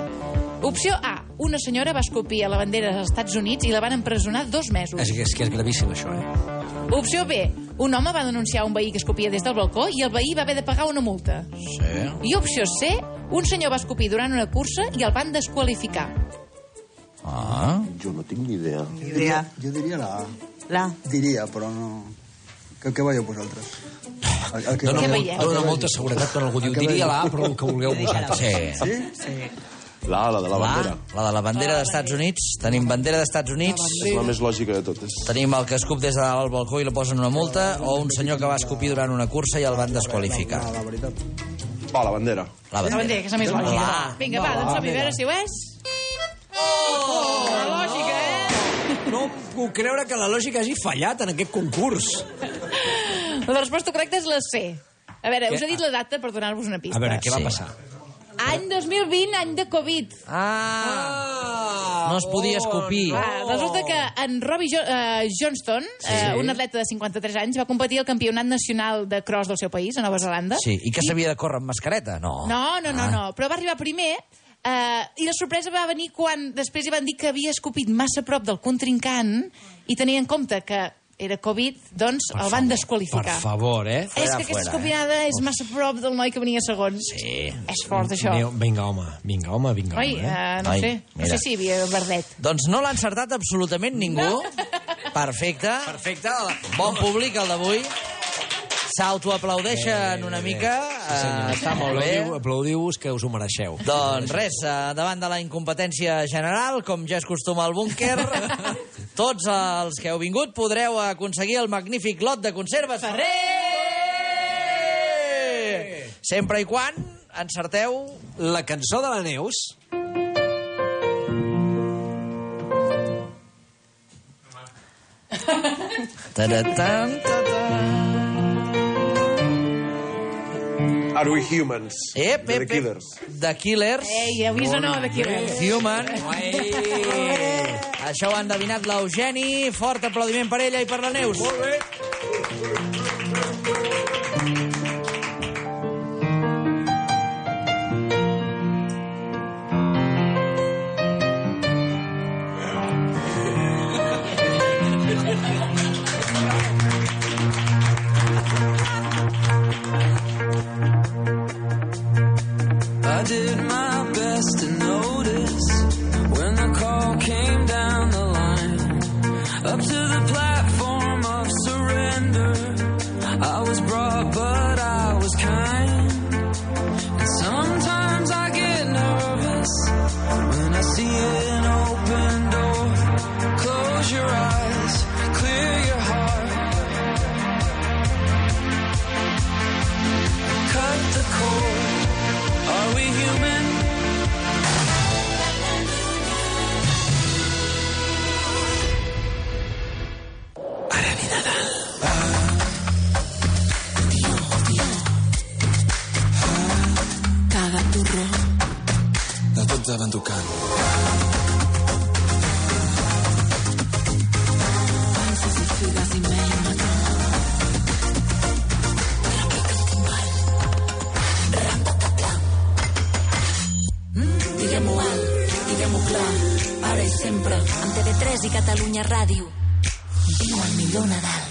Opció A. Una senyora va escopir a la bandera dels Estats Units i la van empresonar dos mesos. És, que- és que és gravíssim, això, eh? Opció B. Un home va denunciar un veí que escopia des del balcó i el veí va haver de pagar una multa. Sí. I opció C. Un senyor va escopir durant una cursa i el van desqualificar. Ah. Yo no tengo ni idea. idea. Yo diría la A. La. Diría, però no... Que, que veieu vosaltres? El, el Dóna, veieu. molt, El que dona veieu. molta seguretat quan algú diu El que diria veieu. la A, però el que vulgueu vosaltres. Sí. Sí? La, la de la bandera. La de la bandera d'Estats Units. Tenim bandera d'Estats Units. És la més lògica de totes. Tenim el que escup des de dalt al balcó i li posen una multa, o un senyor que va escopir durant una cursa i el van desqualificar. La, la veritat. Va, la bandera. La La bandera, que és la més lògica. La. Vinga, va, No, doncs som-hi, a mira. veure si ho és. Oh! La lògica, eh? No em puc creure que la lògica hagi fallat en aquest concurs. La resposta correcta és la C. A veure, Què? us he dit la data per donar-vos una pista. A veure, què va passar? Any 2020, any de Covid. Ah! No es podia escopir. Clar, ah, resulta que en Robbie jo eh, Johnston, doncs, eh, Sí. un atleta de 53 anys, va competir al campionat nacional de cross del seu país, a Nova Zelanda. Sí, i que s'havia de córrer amb mascareta? No. doncs. Ah, No, no, Ah. no, no. Però va arribar primer eh, i la sorpresa va venir quan després hi van dir que havia escopit massa a prop del contrincant i tenia en compte que era Covid, doncs el van desqualificar. Per favor, eh? És que aquesta escopinada és massa a prop del noi que venia segon. Sí. És fort, això. Aneu- Vinga, home, vinga, home, vinga, Oi, home. eh, no Noi, sé. No mira. sé si hi havia verdet. Doncs no l'ha encertat absolutament ningú. No. Perfecte. Perfecte. Bon públic, el d'avui. S'autoaplaudeixen una mica. eh, Està molt bé. eh, Aplaudiu- Aplaudiu-vos, que us ho mereixeu. Doncs res, eh, davant de la incompetència general, com ja és costum al búnquer, tots els que heu vingut podreu aconseguir el magnífic lot de conserves Ferrer! Sempre i quan encerteu... La cançó de la Neus... Taratán, Are we humans? Ep, The ep, ep. Killers. The Killers. Ei, heu vist o Eh, no, The Killers? Human. Això ho ha endevinat l'Eugeni. Fort aplaudiment per ella i per la Neus. Molt bé. I did my best to notice when the call came down the line. Up to the platform of surrender, I was brought, but I was kind. And sometimes I get nervous when I see an open door. Close your eyes, clear your heart. Cut the cord. Are we human? Cada turró. De tots davant tocant. Panzas y figas y me matan. Diguem-ho alt, diguem-ho clar, ara i sempre, amb TV3 i Catalunya Ràdio. Viu el millor Nadal.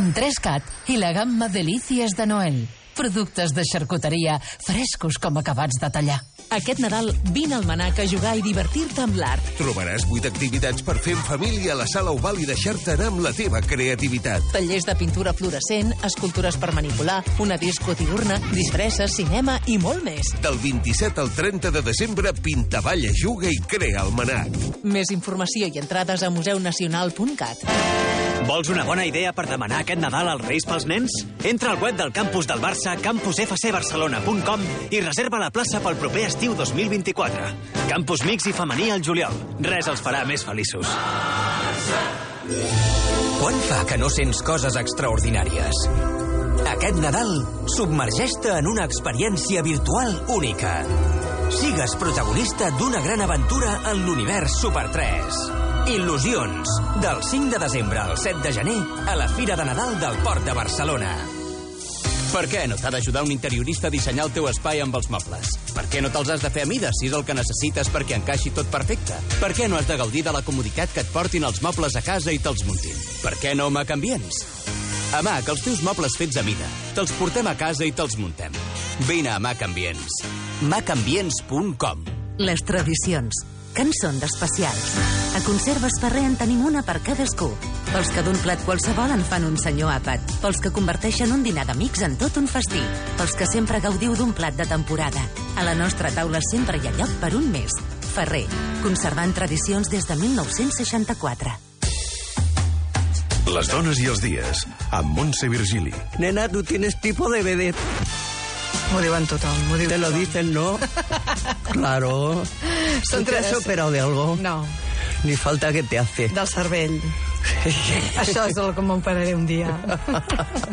Amb 3CAT i la gamma Delícies de Noel. Productes de xarcuteria frescos com acabats de tallar. Aquest Nadal vine al Manac a jugar i divertir-te amb l'art. Trobaràs 8 activitats per fer en família a la sala oval i deixar-te anar amb la teva creativitat. Tallers de pintura fluorescent, escultures per manipular, una disco diurna, disfresses, cinema i molt més. Del 27 al 30 de desembre, pinta, balla, juga i crea el manac. Més informació i entrades a museunacional.cat. Vols una bona idea per demanar aquest Nadal als Reis pels nens? Entra al web del campus del Barça, campusfcbarcelona.com i reserva la plaça pel proper estiu 2024. Campus mix i femení al juliol. Res els farà més feliços. Quan fa que no sents coses extraordinàries? Aquest Nadal, submergeix-te en una experiència virtual única. Sigues protagonista d'una gran aventura en l'univers Super 3. Il·lusions, del 5 de desembre al 7 de gener, a la Fira de Nadal del Port de Barcelona. Per què no t'ha d'ajudar un interiorista a dissenyar el teu espai amb els mobles? Per què no te'ls has de fer a mida si és el que necessites perquè encaixi tot perfecte? Per què no has de gaudir de la comoditat que et portin els mobles a casa i te'ls muntin? Per què no Hamac Ambients? Hamac, els teus mobles fets a mida. Te'ls portem a casa i te'ls muntem. Vine a Hamac Ambients. macambients.com Les tradicions, que en són d'especials. A Conserves Ferrer en tenim una per cadascú. Pels que d'un plat qualsevol en fan un senyor àpat. Pels que converteixen un dinar d'amics en tot un festí. Pels que sempre gaudiu d'un plat de temporada. A la nostra taula sempre hi ha lloc per un mes. Ferrer, conservant tradicions des de 1964. Les dones i els dies, amb Montse Virgili. Nena, tú tienes tipo de vedette. M'ho diuen tothom, m'ho diuen Te lo dicen, no? claro. Són ¿Tú te has tres. operado de algo? No. Ni falta que te hace. Del cervell. Això és el que m'empararé un dia.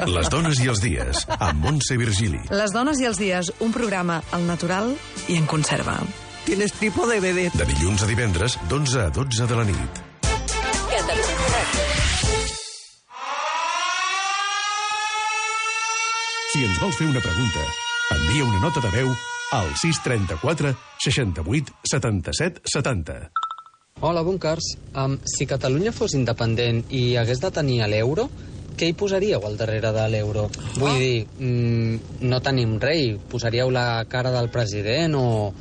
Les dones i els dies, amb Montse Virgili. Les dones i els dies, un programa al natural i en conserva. Tienes tipo de vedette. De dilluns a divendres, d'11 a 12 de la nit. Si ens vols fer una pregunta, envia una nota de veu al 634 68 77 70. Hola, Bunkers. Um, si Catalunya fos independent i hagués de tenir a l'euro, què hi posaríeu al darrere de l'euro? Vull Ah. dir, mm, no tenim rei, posaríeu la cara del president o,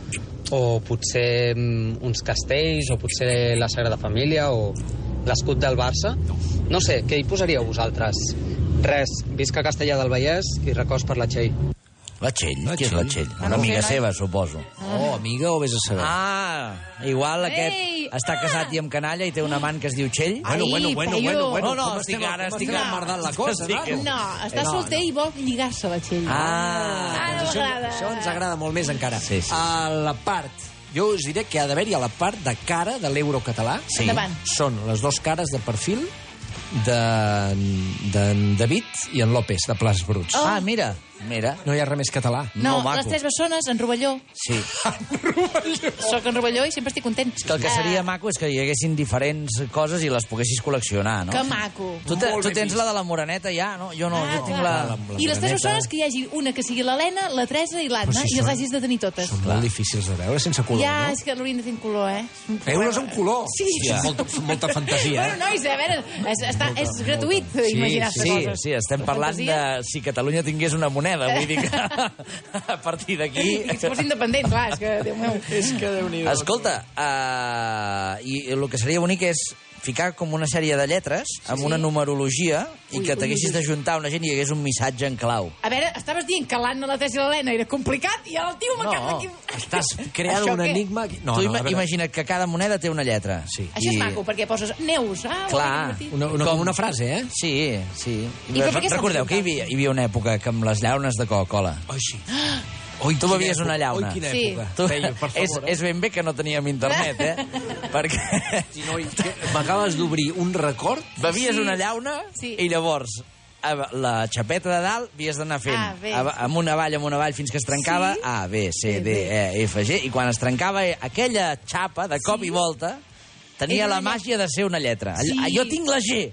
o potser mm, uns castells o potser la Sagrada eh, Família o l'escut del Barça. No sé, què hi posaríeu vosaltres? Res, visca Castellà del Vallès i records per la Txell. La Txell? Qui és la Txell? Ah, no Una ho amiga sé, seva, suposo. Oh, amiga o vés a saber? Ah, igual aquest Ei, ah. està casat i amb canalla i té un amant que es diu Txell. Ah, Bueno, Ai, bueno, bueno, bueno, paio. bueno, No, no, com estic estem- ara, com estic estem ara. emmerdant la cosa, Estic- No, Ah, està Eh, No, solter i vol lligar-se la Txell. Ah, Ara doncs això, m'agrada. això ens agrada molt més encara. Sí, sí. A la part, jo us diré que ha d'haver-hi a la part de cara de l'euro català. Sí. Endavant. Són les dues cares de perfil de, de David i en López, de Plas Bruts. Oh. Ah, mira, mira. No hi ha res més català. No, les tres bessones, en Rovelló. Sí. Soc en Rovelló i sempre estic content. Eh. Que el que seria maco és que hi haguessin diferents coses i les poguessis col·leccionar, No? no? Que maco. Tu, te, tu tens la de la Moreneta ja, no? Jo no, Ah, jo tinc clar. la... I les tres bessones que hi hagi una que sigui l'Helena, la Teresa i l'Anna, Però si i les són- hagis de tenir totes. Són molt difícils de veure, sense color, ja, no? és que l'haurien de fer en color, eh? Euro és un color. Sí. Hòstia, molta, molta fantasia, Bueno, eh? nois, a veure, és, està, és gratuït tota Sí, imaginar-se sí, coses. sí, estem parlant de si Catalunya tingués una moneda, vull dir que a partir d'aquí... I que fos independent, clar, és que, Déu meu. és que déu nhi Escolta, uh, i el que seria bonic és ficar com una sèrie de lletres amb Sí. una numerologia i Ui, que ui, ui. t'haguessis d'ajuntar una gent i hi hagués un missatge en clau. A veure, estaves dient que l'Anna, la Teresa i l'Helena era complicat i el tio m'acaba no. aquí... Estàs creant Això un què? enigma... aquí. No, tu a ima veure. imagina't que cada moneda té una lletra. Sí. Això és maco, perquè poses neus, ah, vol dir Clar. divertit. com una frase, eh? Sí, sí. I per què s'ha Recordeu que hi havia, hi havia una època que amb les llaunes de Coca-Cola... Ai, sí. Oi, tu quina bevies època, una llauna. oi, quina Sí. època. Tu, Feia, per favor, és, eh? és ben bé que no teníem internet, eh? Perquè Si no, i que- M'acabes d'obrir un record. bevies sí. una llauna sí. i llavors a la xapeta de dalt havies d'anar fent A, B. a- amunt avall, amunt avall fins que es trencava sí. A, B, C, D, E, F, G i quan es trencava eh, aquella xapa de cop sí. i volta tenia Era la una màgia de ser una lletra Sí. sí. jo tinc la G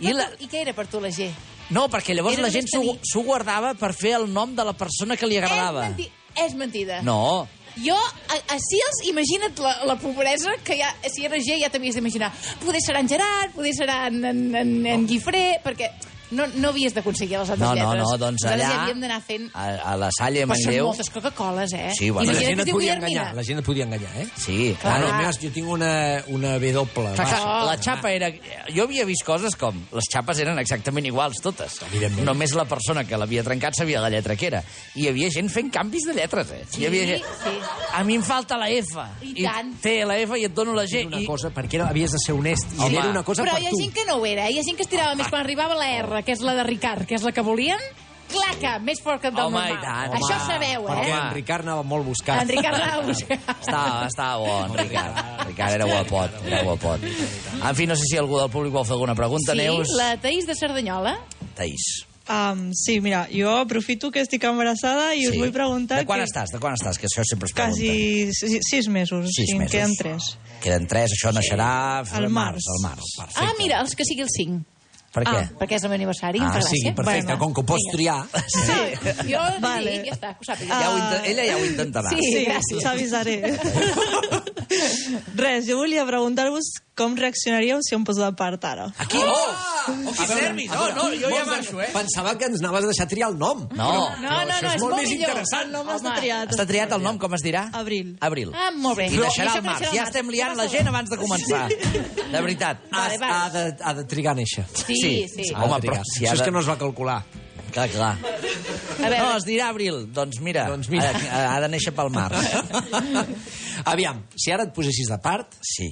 I, per, la... I què era per tu la G? no, perquè llavors Era la gent només s'ho s'ho guardava per fer el nom de la persona que li agradava És, menti és mentida. no, Jo, a, a Sils, imagina't la, la pobresa que ja, si era G ja t'havies d'imaginar. Poder serà en Gerard, poder serà en, en, en, en Guifré, perquè no, no havies d'aconseguir les altres No, no, lletres. no, doncs Nosaltres allà- ja havíem d'anar fent... a, a la Salle Però són Manlleu moltes Coca-Coles, eh? Sí, bueno, la Imagina't que gent es et diu podia Guillermina. enganyar, la gent et podia enganyar, eh? Sí, clar. clar. Ah, no, mira, jo tinc una, una W. Clar, Clar, clar, la xapa era... Jo havia vist coses com... Les xapes eren exactament iguals, totes. Evidentment. Només la persona que l'havia trencat sabia la lletra que era. I hi havia gent fent canvis de lletres, eh? Sí, hi havia gent... sí. A mi em falta la F. I tant. té la F i et dono la G. Una cosa, perquè era, havies de ser honest. I Home. era una cosa Però per hi ha tu. gent que no ho era. Hi ha gent que estirava més quan arribava la R, que és la de Ricard, que és la que volien. Claca, més fort que el del Home, normal. i tant. Això Home. ho sabeu, eh? Perquè en Ricard anava molt buscat. En Ricard Raus. Estava, estava bo, en Ricard. Ricard era guapot, era guapot. En fi, no sé si algú del públic vol fer alguna pregunta, Sí, Neus. la Taís de Cerdanyola. Taís. Um, sí, mira, jo aprofito que estic embarassada i sí. us vull preguntar... De quan que... estàs? De quan estàs? Que això sempre es pregunta. Quasi si- sis mesos. Sis sí, en mesos. Queden tres. Queden tres, això naixerà... Al març. Al març. Ah, mira, els que sigui el 5. Per què? Ah, perquè és el meu aniversari, em Ah, fa gràcia. sí, perfecte, com que ho pots triar. Sí. Jo vale. dic, ja està, que ho sàpiga. Ja ho inte- ella ja ho intentarà. Sí, Sí, sí gràcies. gràcies. T'avisaré. Eh, Res, jo volia preguntar-vos com reaccionaríeu si em poso de part ara. Aquí? Oh! Oh, quin nervis! No, no, jo ja marxo, eh? Pensava que ens anaves a deixar triar el nom. No. No, Però no, això no, és, és molt molt més millor. interessant. No, m'has triat. Està triat el nom, com es dirà? Abril. Abril. Ah, molt bé. I Però- deixarà i el això que març. deixarà el Ja març. estem liant la gent abans de començar. De veritat. Vale, vale. Ha, de, ha de trigar a néixer. Sí, sí. Ha de Home, trigar. però si ha Això és de- que no es va calcular. Clar, clar. A veure. No, es dirà abril. Doncs mira, doncs mira. Ha, ha de néixer pel març. Aviam, si ara et posessis de part... Sí.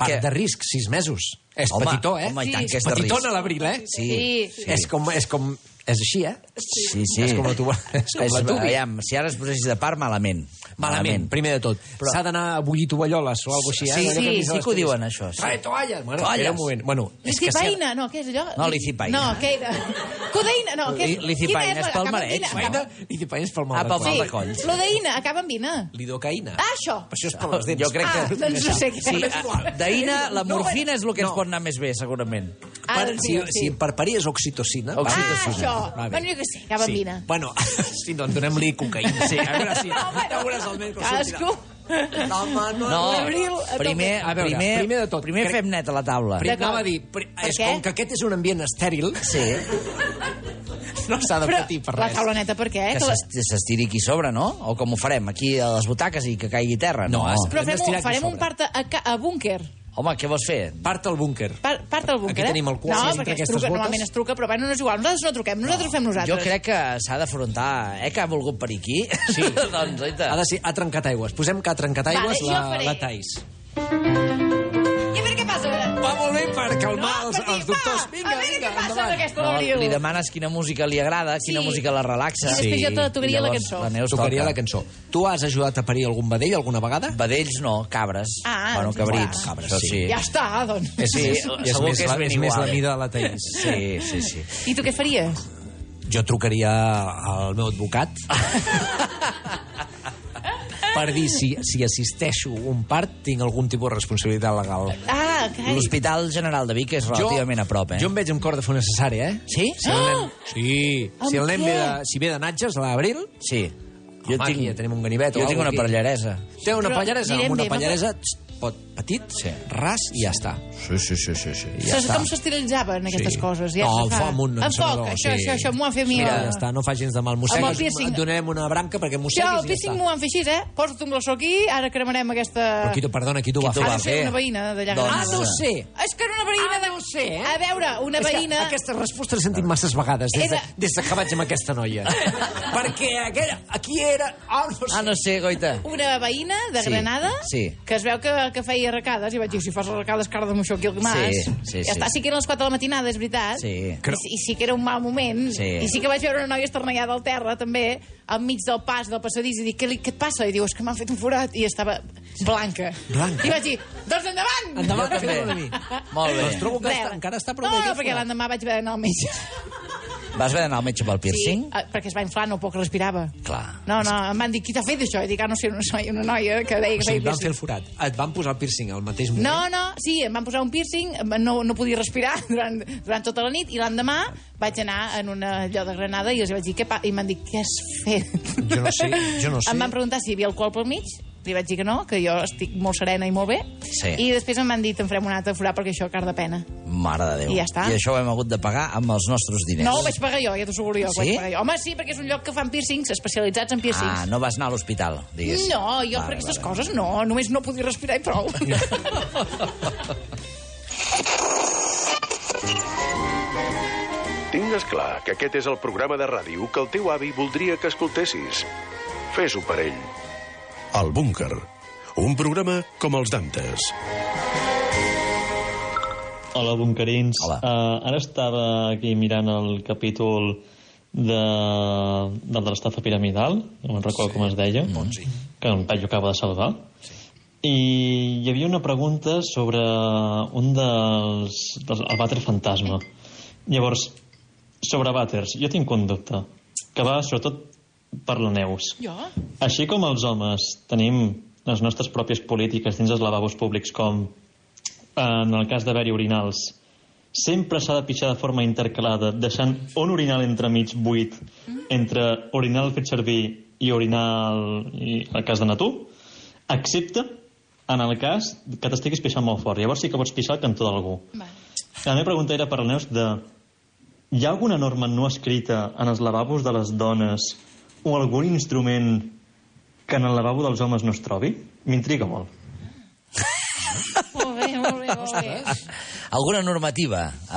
Part Què? de risc, sis mesos. És Home, petitó, eh? home, i tant que és de risc. Petitona a l'abril, eh? Sí, Sí. sí. És com... És com és així, eh? Sí, sí. És com la tuba. És com la tubi. Aviam, si ara es posessis de part, malament. Malament, primer de tot. Però- S'ha d'anar a bullir tovalloles o alguna cosa així, eh? Sí, Allò sí, hem vist a sí les que ho diuen, pel·lis. això, sí. Trae toalles! Bueno, Toalles. espera un moment. Bueno, és que si ara- Licipaina, no, què és allò? No, licipaina. No, què era? Codeïna, no, què és? Li- Licipaina Quina és la- pel acaba amb mareig. vina? Licipaina- Licipaina és pel mal Ah, pel mal de coll. coll. Lodeïna, acaba amb vina. Lidocaïna. Ah, això. Però això és per les dents. Jo crec que... Ah, doncs no sé què. Sí, És igual. ah, d'ahina, la No, morfina és el que ens pot anar més bé, segurament. Ah, doncs si, sí, sí. si per parir és oxitocina... va. Ah, això. Va bé. Bueno, jo què sé, acaba amb Sí. vina. Bueno, sí, doncs donem-li cocaïna. Sí, a veure si... A veure si almenys... Cadascú. Home, no, No, Abril, a tope. primer, A veure, primer, primer de tot, primer crec- fem net a la taula. Pri- Anava a dir, pri- és què? com que aquest és un ambient estèril... Sí. No s'ha de patir per La res. tauloneta per què? Que Que la- s'est- s'estiri aquí sobre, no? O com ho farem? Aquí a les butaques i que caigui terra? No, Però fem un, farem un part a, a, ca- a búnquer. Home, què vols fer? Part al búnquer. Part, part del búnquer, eh? Aquí tenim el quart, No, entre perquè es aquestes truca, botes. normalment es truca, però bueno, no és igual. Nosaltres no truquem, nosaltres fem nosaltres. Jo crec que s'ha d'afrontar... Eh, que ha volgut per aquí? Sí. doncs, oita. Ha, de ser, ha trencat aigües. Posem que ha trencat Vale, aigües jo la, faré. la Thais. I a veure què passa. Va molt bé per calmar no, els, els dubtors. Vinga, a veure vinga, què passa endavant. amb aquesta No, Gabriel. li demanes quina música li agrada, quina música la relaxa. I després jo te tocaria la cançó. La Neus Tocaria toca. la cançó. Tu has ajudat a parir algun vedell alguna vegada? Vedells no, cabres. Ah, bueno, doncs cabrits. clar. Cabres, sí. Ja està, doncs. Eh, Sí, És- és segur més que és la- ben és més igual. eh. la mida de la Thaís. Sí, sí, sí. I tu què faries? Jo trucaria al meu advocat per dir si, si assisteixo a un part tinc algun tipus de responsabilitat legal. Ah, carai. L'Hospital General de Vic és relativament a prop, eh? Jo em veig amb cor de fer una cesària, eh? Sí? Si el Ah! nen, sí. Amb Si el nen què? ve de, si ve de Natges, a l'abril... Sí. Jo Home, tinc, ja tenim un ganivet. o jo tinc alguna una cosa aquí. pallaresa. Té una Però pallaresa, anirem amb una bé, pallaresa va- txt, pot, petit, Sí. ras i ja està. Sí, sí, sí, sí. sí. Ja com s'esterilitzaven aquestes Sí. coses? Ja no, se amb fa. foc, un Amb foc, encenedor, això, sí. això, això m'ho han fet mi. Mira, ja està, no fa gens de mal. Amb el Mossegues, piercing. et donem una branca perquè Ja, mosseguis el i ja està. pissing m'ho han fet així, eh? Posa-te un glaçó aquí, ara cremarem aquesta... Però qui t'ho- perdona, qui t'ho va ha fer? de ser una veïna d'allà Doncs- Granada. Ah, no ho sé. És que era una veïna... Ah, no ho sé, eh? A veure, una És que veïna... Aquesta resposta l'he sentit masses vegades des, de, Era- des de que vaig amb aquesta noia. Perquè aquella, aquí era... Ah, no sé. Ah, no sé, goita. Una veïna de Sí, Granada sí. que es veu que, que feia arracades i vaig dir, si fas arracades, cara de moixó aquí al mas. Sí, sí, ja sí. està, sí que eren les 4 de la matinada, és veritat. Sí. I, sí- i sí que era un mal moment. Sí. I sí que vaig veure una noia esternallada al terra, també, al mig del pas del passadís, i dic, què, li, què et passa? I diu, és que m'han fet un forat. I estava blanca. Blanca. I vaig dir, doncs endavant! Endavant, també. Molt bé. Doncs trobo que Re. està, encara està prou No, bé. no, perquè l'endemà vaig haver d'anar al metge. Vas haver d'anar al metge pel piercing? Ah, perquè es va inflar, no poc respirava. Clar. No, no, em van dir, qui t'ha fet això? I dic, ah, no sé, una noia, una noia que deia O que feia sigui, et van fer piercing. el forat. Et van posar el piercing al mateix moment. No, no, sí, em van posar un piercing, em- no, no podia respirar durant, durant tota la nit, i l'endemà vaig anar en una allò de Granada i els vaig dir, què pa... I m'han dit, què has fet? Jo no sé, jo no sé. Em van preguntar si hi havia alcohol pel mig, li vaig dir que no, que jo estic molt serena i molt bé, Sí. i després em van dir, te'n farem un altre forat perquè això car de pena. Mare de Déu. I ja està. I això ho hem hagut de pagar amb els nostres diners. No, ho vaig pagar jo, ja t'ho asseguro jo. que ho Sí? Vaig pagar jo. Home, sí, perquè és un lloc que fan piercings, especialitzats en piercings. Ah, no vas anar a l'hospital, digués. No, jo per aquestes coses no, només no podia respirar i prou. Tingues clar que aquest és el programa de ràdio que el teu avi voldria que escoltessis. Fes-ho per ell. El búnquer. Un programa com els d'antes. Hola, bunkerins. Hola. Uh, ara estava aquí mirant el capítol de, del de l'estafa piramidal, no me'n recordo sí. com es deia, Monzi. que en Pello acaba de salvar. Sí. I hi havia una pregunta sobre un dels... dels el vàter fantasma. Llavors, sobre vàters, jo tinc un dubte, que va sobretot per la Neus. Jo? Així com els homes tenim les nostres pròpies polítiques dins els lavabos públics com en el cas d'haver-hi orinals sempre s'ha de pixar de forma intercalada deixant un orinal entremig buit entre orinal fet servir i orinal i el cas de Natú excepte en el cas que t'estiguis pixant molt fort llavors sí que pots pixar al cantó d'algú la meva pregunta era per la Neus de hi ha alguna norma no escrita en els lavabos de les dones o algun instrument que en el lavabo dels homes no es trobi? M'intriga molt. molt bé, molt bé, molt bé. Alguna normativa? Uh...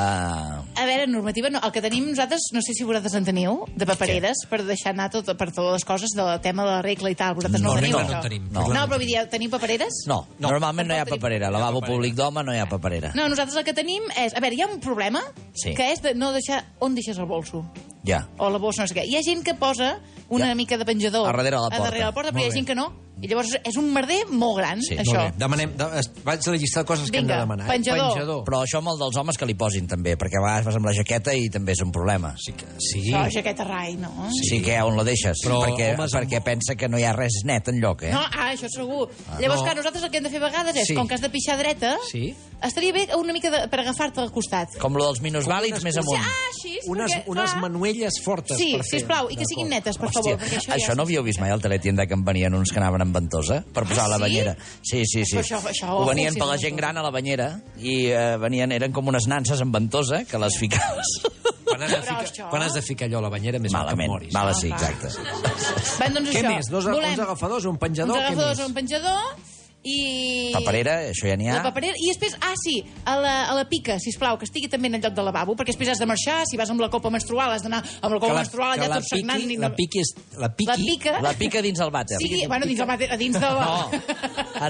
A veure, normativa no. El que tenim nosaltres, no sé si vosaltres en teniu, de papereres, per deixar anar tot, per totes les coses del tema de la regla i tal. Vosaltres no, No, ho tenim, no, això. no tenim. No, No. però vull dir, teniu papereres? No, no, normalment no hi ha paperera. Lavabo públic d'home no hi ha paperera. No, nosaltres el que tenim és... A veure, hi ha un problema, Sí. que és de no deixar... On deixes el bolso? Ja. O la bossa, no sé què. Hi ha gent que posa una ja. mica de penjador... A darrere de la A darrere de la porta, porta, però Molt hi ha bé. gent que no. I llavors és un merder molt gran, Sí, això. molt bé. Demanem, de, es- vaig a la llista de coses que Vinga, hem de demanar. penjador. eh? Però això amb el dels homes que li posin, també, perquè a vegades vas amb la jaqueta i també és un problema. Sí que, sí. Això, jaqueta rai, no? Sí, sí que on la deixes, Però, Però, perquè, homes, perquè pensa que no hi ha res net en lloc, eh? No, ah, això segur. Ah, Llavors, no. clar, nosaltres el que hem de fer a vegades és, Sí. com que has de pixar dreta, Sí. estaria bé una mica de, per agafar-te al costat. Com lo dels minusvàlids, més amunt. Ah, així, Unes, perquè, unes clar. manuelles fortes Sí, per fer. sisplau, i que siguin netes, per favor, perquè això, això no havíeu vist mai al teletienda que en venien uns que anaven amb ventosa per posar a la Ah, sí? banyera? Sí, sí, sí. Però això- això, Ho venien ojo, per sí, la no. gent gran a la banyera i eh, venien, eren com unes nanses amb ventosa que les ficaves. Quan has, de ficar, quan has de ficar allò a la banyera, més Malament. que moris. Mala, sí, exacte. Van, doncs, Què això. més? Dos, Volem Uns agafadors, un uns penjador, què agafadors més? a un penjador I... Paperera, això ja n'hi ha. La paperera. I després, ah, sí, a la, a la pica, si plau, que estigui també en el lloc del lavabo, perquè després has de marxar, si vas amb la copa menstrual, has d'anar amb la copa menstrual allà tot sagnant. i no- piqui, la piqui, La pica. la pica dins el vàter. Sigui, bueno, dins, el mate, a dins de la... No, en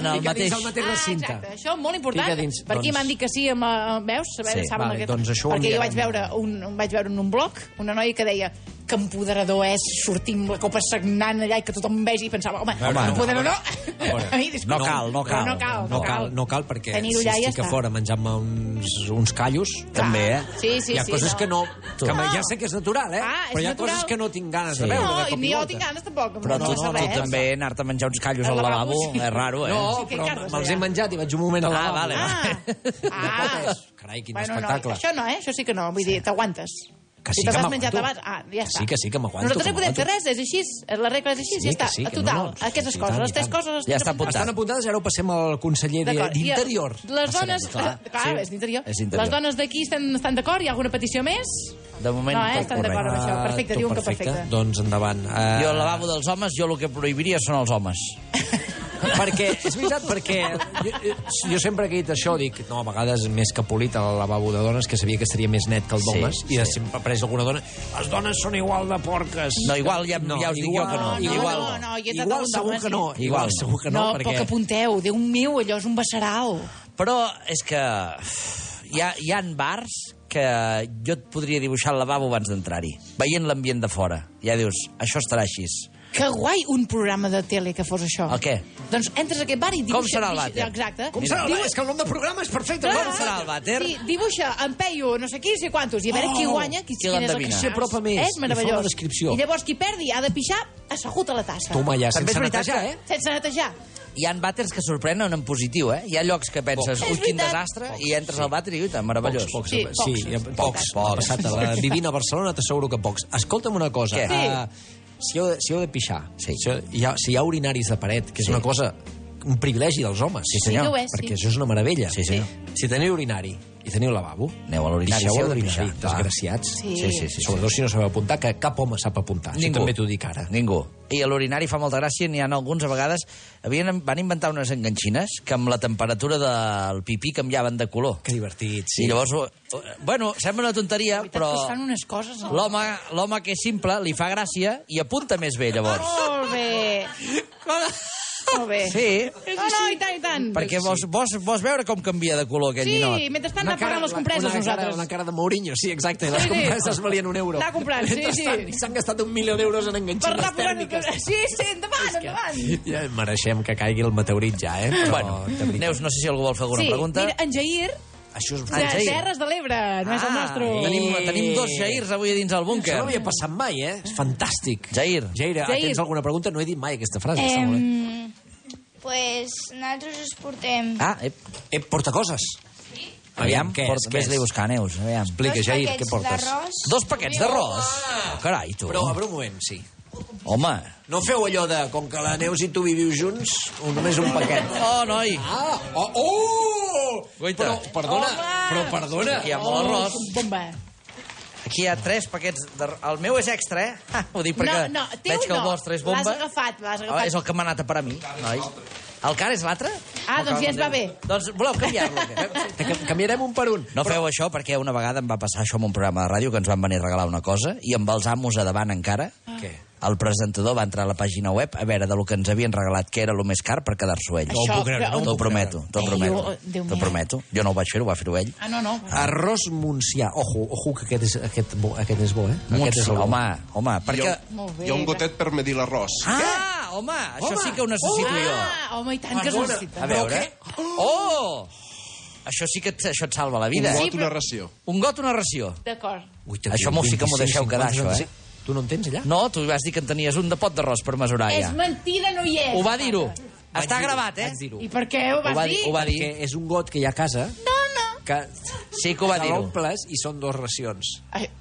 el mateix... ah, Exacte, això molt important, Pica dins, perquè doncs. m'han dit que sí, amb, eh, veus? Saber, Sí, saben vale, aquest- doncs això ho perquè jo vaig veure, enviarem. un, un- vaig veure en un blog una noia que deia que empoderador és sortir amb la copa sagnant allà i que tothom vegi i pensava, home, Veure, no, empoderador no, A mi, No disculpa. cal, no cal. No cal, no cal, no cal perquè si Tenir-ho allà i ja estic a està. fora menjant-me uns, uns callos... També, eh? Sí, sí, hi ha sí, coses no. que no... Que No. ja sé que és natural, eh? Ah, és però hi ha natural. coses que no tinc ganes Sí. de veure. No, de cop i ni volta. jo tinc ganes tampoc. no Però eh, tu, passa no, tu res. també anar-te a menjar uns callos Al al lavabo, lavabo sí. és raro, eh? No, que però cares, me'ls ja. he menjat i vaig un moment a Ah, la... vale, vale. Carai, quin ah. Bueno, no, espectacle. això no, eh? Això sí que no. Vull dir, t'aguantes. Que sí si que t'has m'aguanto. menjat abans, ah, ja està. Sí, que sí, que m'aguanto, Nosaltres que no podem m'aguanto. fer res, és així, la regla és així, Sí, ja està. que sí, que Total, no, no, sí, aquestes sí, coses, tant, les tres tant. coses... les Ja tenen està apuntades. apuntades. Estan apuntades, ara ho passem al conseller de- D'acord, i a- d'Interior. Les Passarem, dones... Clar, sí. és d'interior. És interior. Les dones d'aquí estan, estan d'acord? Hi ha alguna petició més? De moment, No, eh? tot Estan d'acord amb correcte. això. Perfecte, Ah, diuen tot que perfecte. Doncs endavant. Uh... Jo al lavabo dels homes, jo el que prohibiria són els homes. perquè, és veritat, perquè jo, jo sempre que he dit això dic, no, a vegades més que polit al lavabo de dones, que sabia que seria més net que el Sí, d'homes, i de sí. sempre apareix alguna dona, les dones són igual de porques. No, igual ja- ja us dic jo que no. No, no, Igual, no, no, jo he estat igual amb segur dones, que no. sí. Igual segur que no, no perquè... poc apunteu. Déu meu, allò és un beceral. Però és que uf, hi ha, hi ha bars que jo et podria dibuixar el lavabo abans d'entrar-hi, veient l'ambient de fora. Ja dius, això estarà així. Que guai un programa de tele que fos això. El què? Doncs entres a aquest bar i dibuixa... Com serà el dibuixa- vàter? Exacte. Com serà el Dibu- vàter? És que el nom de programa és perfecte. Clar. Com serà el vàter? Sí, dibuixa en Peyu, no sé qui, no sé quantos, i a veure Oh, qui guanya, qui, qui quin és el l'endevina. que Qui s'apropa més, És li fa meravellós. una descripció. I llavors qui perdi ha de pixar assegut a la tassa. Toma, ja, També sense és veritat netejar, que- eh? Sense netejar. Hi han vàters que sorprenen en positiu, eh? Hi ha llocs que penses, Pocs. ui, És quin veritat. desastre, i entres al vàter i uita, meravellós. Pocs, pocs, sí, pocs. Sí, hi ha pocs. pocs. pocs. Ha passat a la, vivint a Barcelona, t'asseguro que pocs. Escolta'm una cosa. Què? eh, si, heu, si heu de pixar, sí. si, heu- hi ha, si hi ha urinaris de paret, que és sí. una cosa un privilegi dels homes. Sí, senyor. Sí que ho és, sí. perquè això és una meravella. Sí, senyor. Si teniu urinari i teniu lavabo, Aneu a l'urinari, si pixeu heu a de l'urinari, pixar, clar. desgraciats. Sí. Sí, sí, sí, sí. Sobretot si no sabeu apuntar, que cap home sap apuntar. Això Ningú. també t'ho dic ara. Ningú. I a l'urinari fa molta gràcia, n'hi ha alguns a vegades... Havien, van inventar unes enganxines que amb la temperatura del pipí canviaven de color. Que divertit, sí. I llavors, ho- bueno, sembla una tonteria, però Però... Es fan unes coses... eh? no? l'home l'home que és simple li fa gràcia i apunta més bé, llavors. Molt bé. Ah, Molt bé. Sí. No, no, i tant, i tant. Perquè vos, vos, vos veure com canvia de color aquell Sí, ninot. mentrestant anar pagant les compreses una cara, nosaltres. una cara de Mourinho, sí, exacte. Sí, les sí. compreses valien un euro. Anar comprant, sí, sí. Mentrestant, S'han gastat un milió d'euros en Per anar enganxines posant... tèrmiques. Sí, sí, endavant, endavant. Ja mereixem que caigui el meteorit ja, eh? Però, bueno, Neus, no sé si algú vol fer alguna sí, pregunta. Ah, mira, en Jair, Això és... de Terres de l'Ebre, Eh, no és el nostre. Tenim, tenim dos Jairs avui a dins el búnquer. Això no havia passat mai, eh? És fantàstic. Jair. Jair, ah, Jair. tens alguna pregunta? No he dit mai aquesta frase. està molt bé. Em, pues nosaltres us portem Ah, ep. Ep, eh? porta coses. Aviam, Aviam, què és, porta, què és? vés-li buscar, Neus. Aviam. Explica, Dos Jair, paquets què portes? d'arròs. Dos paquets d'arròs? Ah. Oh, carai, tu. Però, obre un moment, sí. Home. No feu allò de, com que la Neus i tu viviu junts, un- només un paquet. Oh, noi. Ah, oh, oh! Guaita. Però, perdona, però perdona. Oh. Aquí hi ha molt arròs. Bomba. Aquí hi ha tres paquets d'arròs. El meu és extra, eh? Ah, ho dic perquè no, no, teu veig que el no. vostre és L'has bomba. agafat, l'has Ah, agafat. és el que m'ha anat a per a mi, noi. El car és l'altre? Ah, No doncs ja cal, ens va Déu. bé. Doncs voleu canviar-lo, eh? Canviarem un per un. No feu això perquè una vegada em va passar això en un programa de ràdio que ens van venir a regalar una cosa i amb els amos a davant encara Ah. Què? el presentador va entrar a la pàgina web a veure de lo que ens havien regalat que era el més car per quedar-s'ho ell. No ho puc creure, no ho T'ho puc prometo, creure. t'ho Ei, prometo. jo- Déu T'ho meu. prometo. Jo no ho vaig fer, ho va fer ell. Ah, no, no. Arròs muncià. Ojo, ojo, que aquest és, aquest, bo, aquest és bo, eh? Aquest és el bo. Home, home, perquè... Molt bé. Hi ha un gotet per medir l'arròs. Ah, home, això Home. sí que ho necessito Oh. jo. Ah, home, i tant que es Perdona. necessita. A veure. Oh! Això sí que et, això et salva la vida. Un eh? got, una ració. Un got, una ració. D'acord. Això m'ho sí que m'ho deixeu quedar, això, eh? Tu no en tens, allà? No, tu vas dir que en tenies un de pot d'arròs per mesurar, És ja. mentida, no hi és. Ho va dir-ho. Vaig Està dir-ho, gravat, eh? vaig dir-ho. I per què ho vas dir? Ho va dir. Perquè és un got que hi ha a casa... No, no. Que sí que ho va dir-ho. L'omples i són dues racions.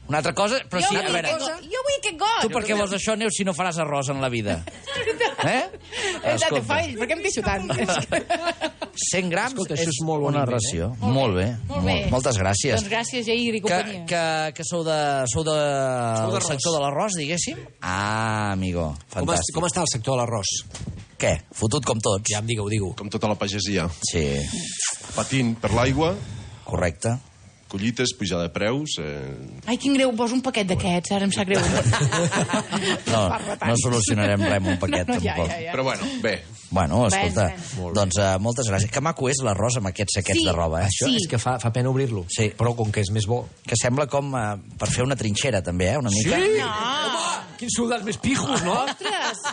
Una altra cosa, però sí, a vull veure... aquest got. Jo vull aquest got. Tu per què vols això, Neus, si no faràs arròs en la vida? Eh? És el que Escolta. fa ell, per què em deixo tant? 100 grams Escolta, és, això és molt bon una invent, eh? ració. Molt bé. Molt bé. Moltes gràcies. Doncs gràcies, Jair i que, companyia. que, que sou de, sou de, Sou del d'arròs. sector de l'arròs, diguéssim? Ah, amigo, Com, es, fantàstic. com està el sector de l'arròs? Què? Fotut com tots? Ja em digueu, digueu. Com tota la pagesia. Sí. Patint per l'aigua. Correcte. Collites, pujada de preus... Eh... Ai, quin greu, posa un paquet d'aquests, ara em sap greu. No, no solucionarem res amb un paquet, No, no, ja, tampoc. ja, ja. Però bueno, bé. Bueno, Ves, escolta, ves. doncs uh, moltes gràcies. Que maco és l'arròs amb aquests saquets Sí, de roba, eh? Això sí. és que fa, fa pena obrir-lo, sí. però com que és més bo. Que sembla com uh, per fer una trinxera, també, eh? Una mica. Home, quins soldats més pijos, no? Ostres!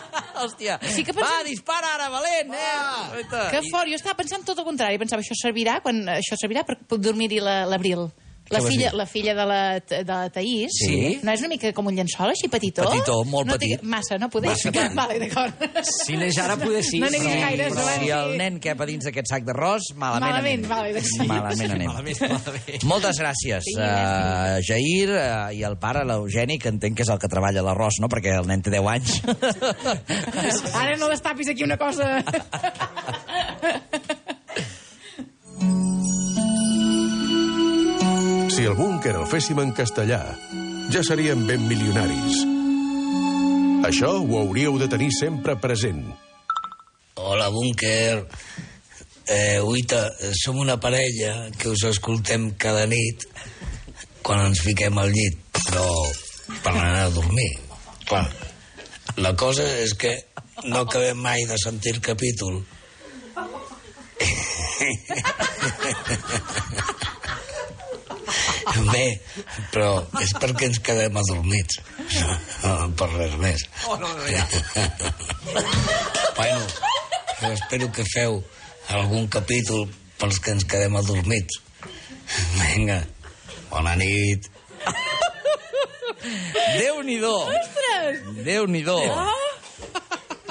Hòstia. Sí que pensem... Va, dispara ara, valent, eh? Que fort, jo estava pensant tot el contrari. Pensava, això servirà, quan això servirà per puc dormir-hi la- l'abril. La, Què vas filla, dir? la filla de la, de la Taís Sí. no és una mica com un llençol així petitó? Petitó, molt no té- petit. Massa, no podeu? Massa petit. Vale, d'acord. Si neix ara, poder sí. No n'hi ha gaire, però no? si el nen cap a dins d'aquest sac d'arròs, malament, Malament, vale, d'acord. anem. Malament anem. malament. Moltes gràcies, Sí, uh, Jair uh, i el pare, l'Eugeni, que entenc que és el que treballa a l'arròs, no? Perquè el nen té 10 anys. Ara no destapis aquí una cosa. Si el búnquer el féssim en castellà, ja seríem ben milionaris. Això ho hauríeu de tenir sempre present. Hola, búnquer. Eh, Uita, som una parella que us escoltem cada nit quan ens fiquem al llit, però per anar a dormir. Clar, la cosa és que no acabem mai de sentir el capítol. Bé, però és perquè ens quedem adormits, no, no per res més. Oh, no, no, ja. Bueno, jo espero que feu algun capítol pels que ens quedem adormits. Vinga, bona nit. Déu-n'hi-do. Ostres! Déu-n'hi-do.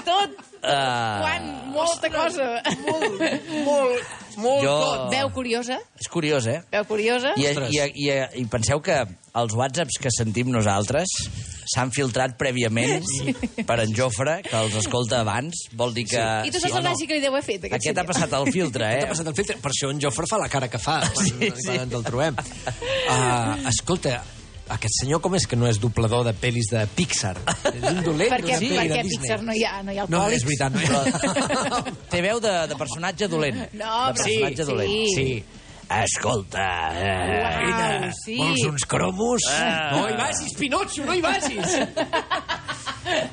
Tot, Uh, quan, molta cosa. Molt, molt, molt Jo- tot. Veu curiosa, és curiós, eh? veu curiosa. I, i, i, I penseu que els whatsapps que sentim nosaltres s'han filtrat prèviament per en Jofre, que els escolta abans. Vol dir que... I tu saps la gràcia que li deu haver fet, aquest, Aquest ha passat el filtre, eh? Aquest ha passat el filtre. Per això en Jofre fa la cara que fa quan, sí, sí. quan ens el trobem. Uh, Ah, escolta, aquest senyor com és que no és doblador de pel·lis de Pixar? Ah, És un dolent perquè, d'una pel·li perquè de a Disney. Pixar no hi ha, no hi ha el No, Pòlix. és veritat. No, Però... Té veu de, de personatge dolent. No, de però personatge sí, dolent. sí. Escolta, eh, Uau, Ina, sí. vols uns cromos? Ah. No hi vagis, Pinotxo, no hi vagis!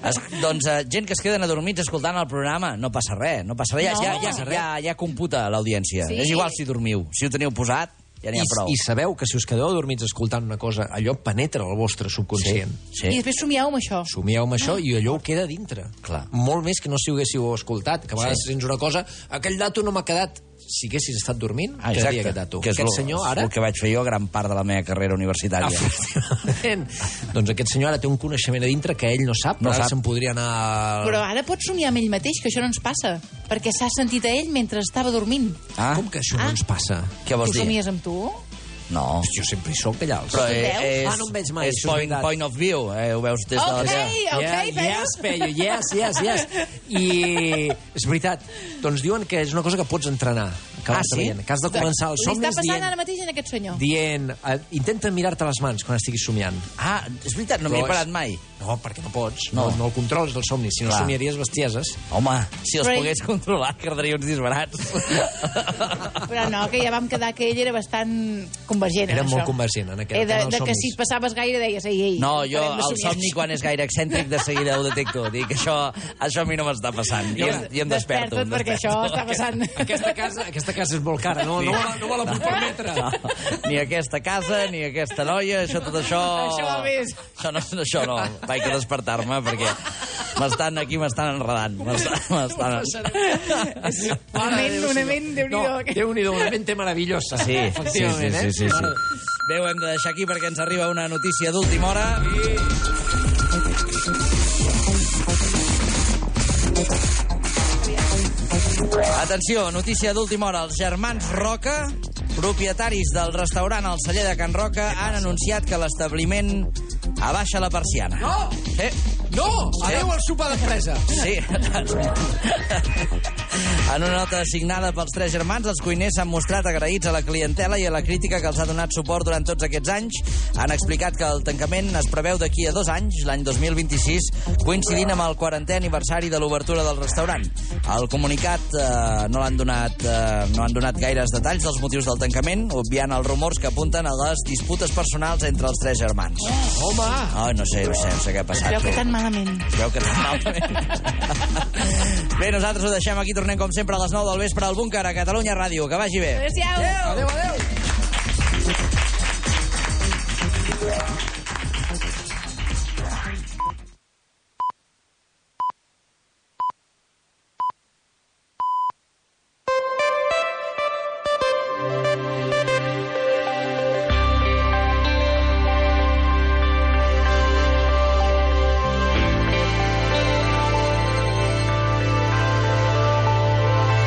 Es, doncs eh, gent que es queden adormits escoltant el programa, no passa res, no passa res. Ja, No. ja, ja, ja, ja computa l'audiència. Sí. És igual si dormiu, si ho teniu posat, ja n'hi I, ha prou. I sabeu que si us quedeu adormits escoltant una cosa, allò penetra el vostre subconscient. Sí, I després somieu amb això. Ah. Somieu amb això i allò ho queda a dintre. Clar. Molt més que no si ho haguéssiu escoltat, que a vegades Sí. sí. sents una cosa, aquell dato no m'ha quedat. Si haguessis estat dormint, Ah, quedaria exacte, aquest dato. que és aquest lo- senyor ara... el que vaig fer jo gran part de la meva carrera universitària. Efectivament. doncs aquest senyor ara té un coneixement a dintre que ell no sap, No però ara sap. se'n podria anar... Però ara pot somiar amb ell mateix, que això no ens passa, perquè s'ha sentit a ell mentre estava dormint. Ah? Com que això no ens passa? Què vols tu dir? somies amb tu? No. Jo sempre hi soc allà. Però eh, és, Ah, no em veig mai. és això point, veritat. point of view, eh, ho veus des de la Ok, teva. ok, Yeah, yes, Peyu, yes, yes, yes. I és veritat, doncs diuen que és una cosa que pots entrenar. Que Ah, vas sí? veient, Que has de començar els Li està somnis passant dient... ara mateix en aquest senyor. dient eh, intenta mirar-te les mans quan estiguis somiant. Ah, és veritat, no Però m'hi he és- parat mai. No, perquè no pots. No. No, no el controles, el somni. Si no Clar. somiaries bestieses... Home, si els Però ell- pogués controlar, quedaria uns disbarats. Però no, que ja vam quedar que ell era bastant convergent Era en molt això. convergent en aquest eh, de, tema dels de que somnis. si et passaves gaire deies, ei, ei. No, jo parem de el somiar. somni quan és gaire excèntric de seguida ho detecto. Dic, això, això a mi no m'està passant. I, em, i em desperto. Desperta't, em perquè desperto. això està passant. Aquesta casa, aquesta casa és molt cara, no, no, me la, no me la puc permetre. Ni aquesta casa, ni aquesta noia, això tot això... Això va més. Això no, això no. Vaig a despertar-me perquè m'estan aquí, m'estan enredant. M'estan... m'estan- Una ment, una ment, No, Déu-n'hi-do. Déu-n'hi-do, una mente meravellosa. Sí, sí, sí, Efectivament, sí, eh? sí, sí. Bé, ho hem de deixar aquí perquè ens arriba una notícia d'última hora. Atenció, notícia d'última hora. Els germans Roca, propietaris del restaurant El Celler de Can Roca, han anunciat que l'establiment abaixa la persiana. No! Sí. No! Adéu al sopar d'empresa! Sí. En una nota signada pels tres germans, els cuiners s'han mostrat agraïts a la clientela i a la crítica que els ha donat suport durant tots aquests anys. Han explicat que el tancament es preveu d'aquí a dos anys, l'any 2026, coincidint amb el 40è aniversari de l'obertura del restaurant. El comunicat eh, no l'han donat, eh, no han donat gaires detalls dels motius del tancament, obviant els rumors que apunten a les disputes personals entre els tres germans. Home! Ai, no sé, no sé, no sé què ha Es passat. veu que tan malament. Es veu que tan malament. bé, nosaltres ho deixem aquí. Tornem, com sempre, a les 9 del vespre al Búnquer, a Catalunya Ràdio. Que vagi bé. Adéu-siau. Adéu, adéu.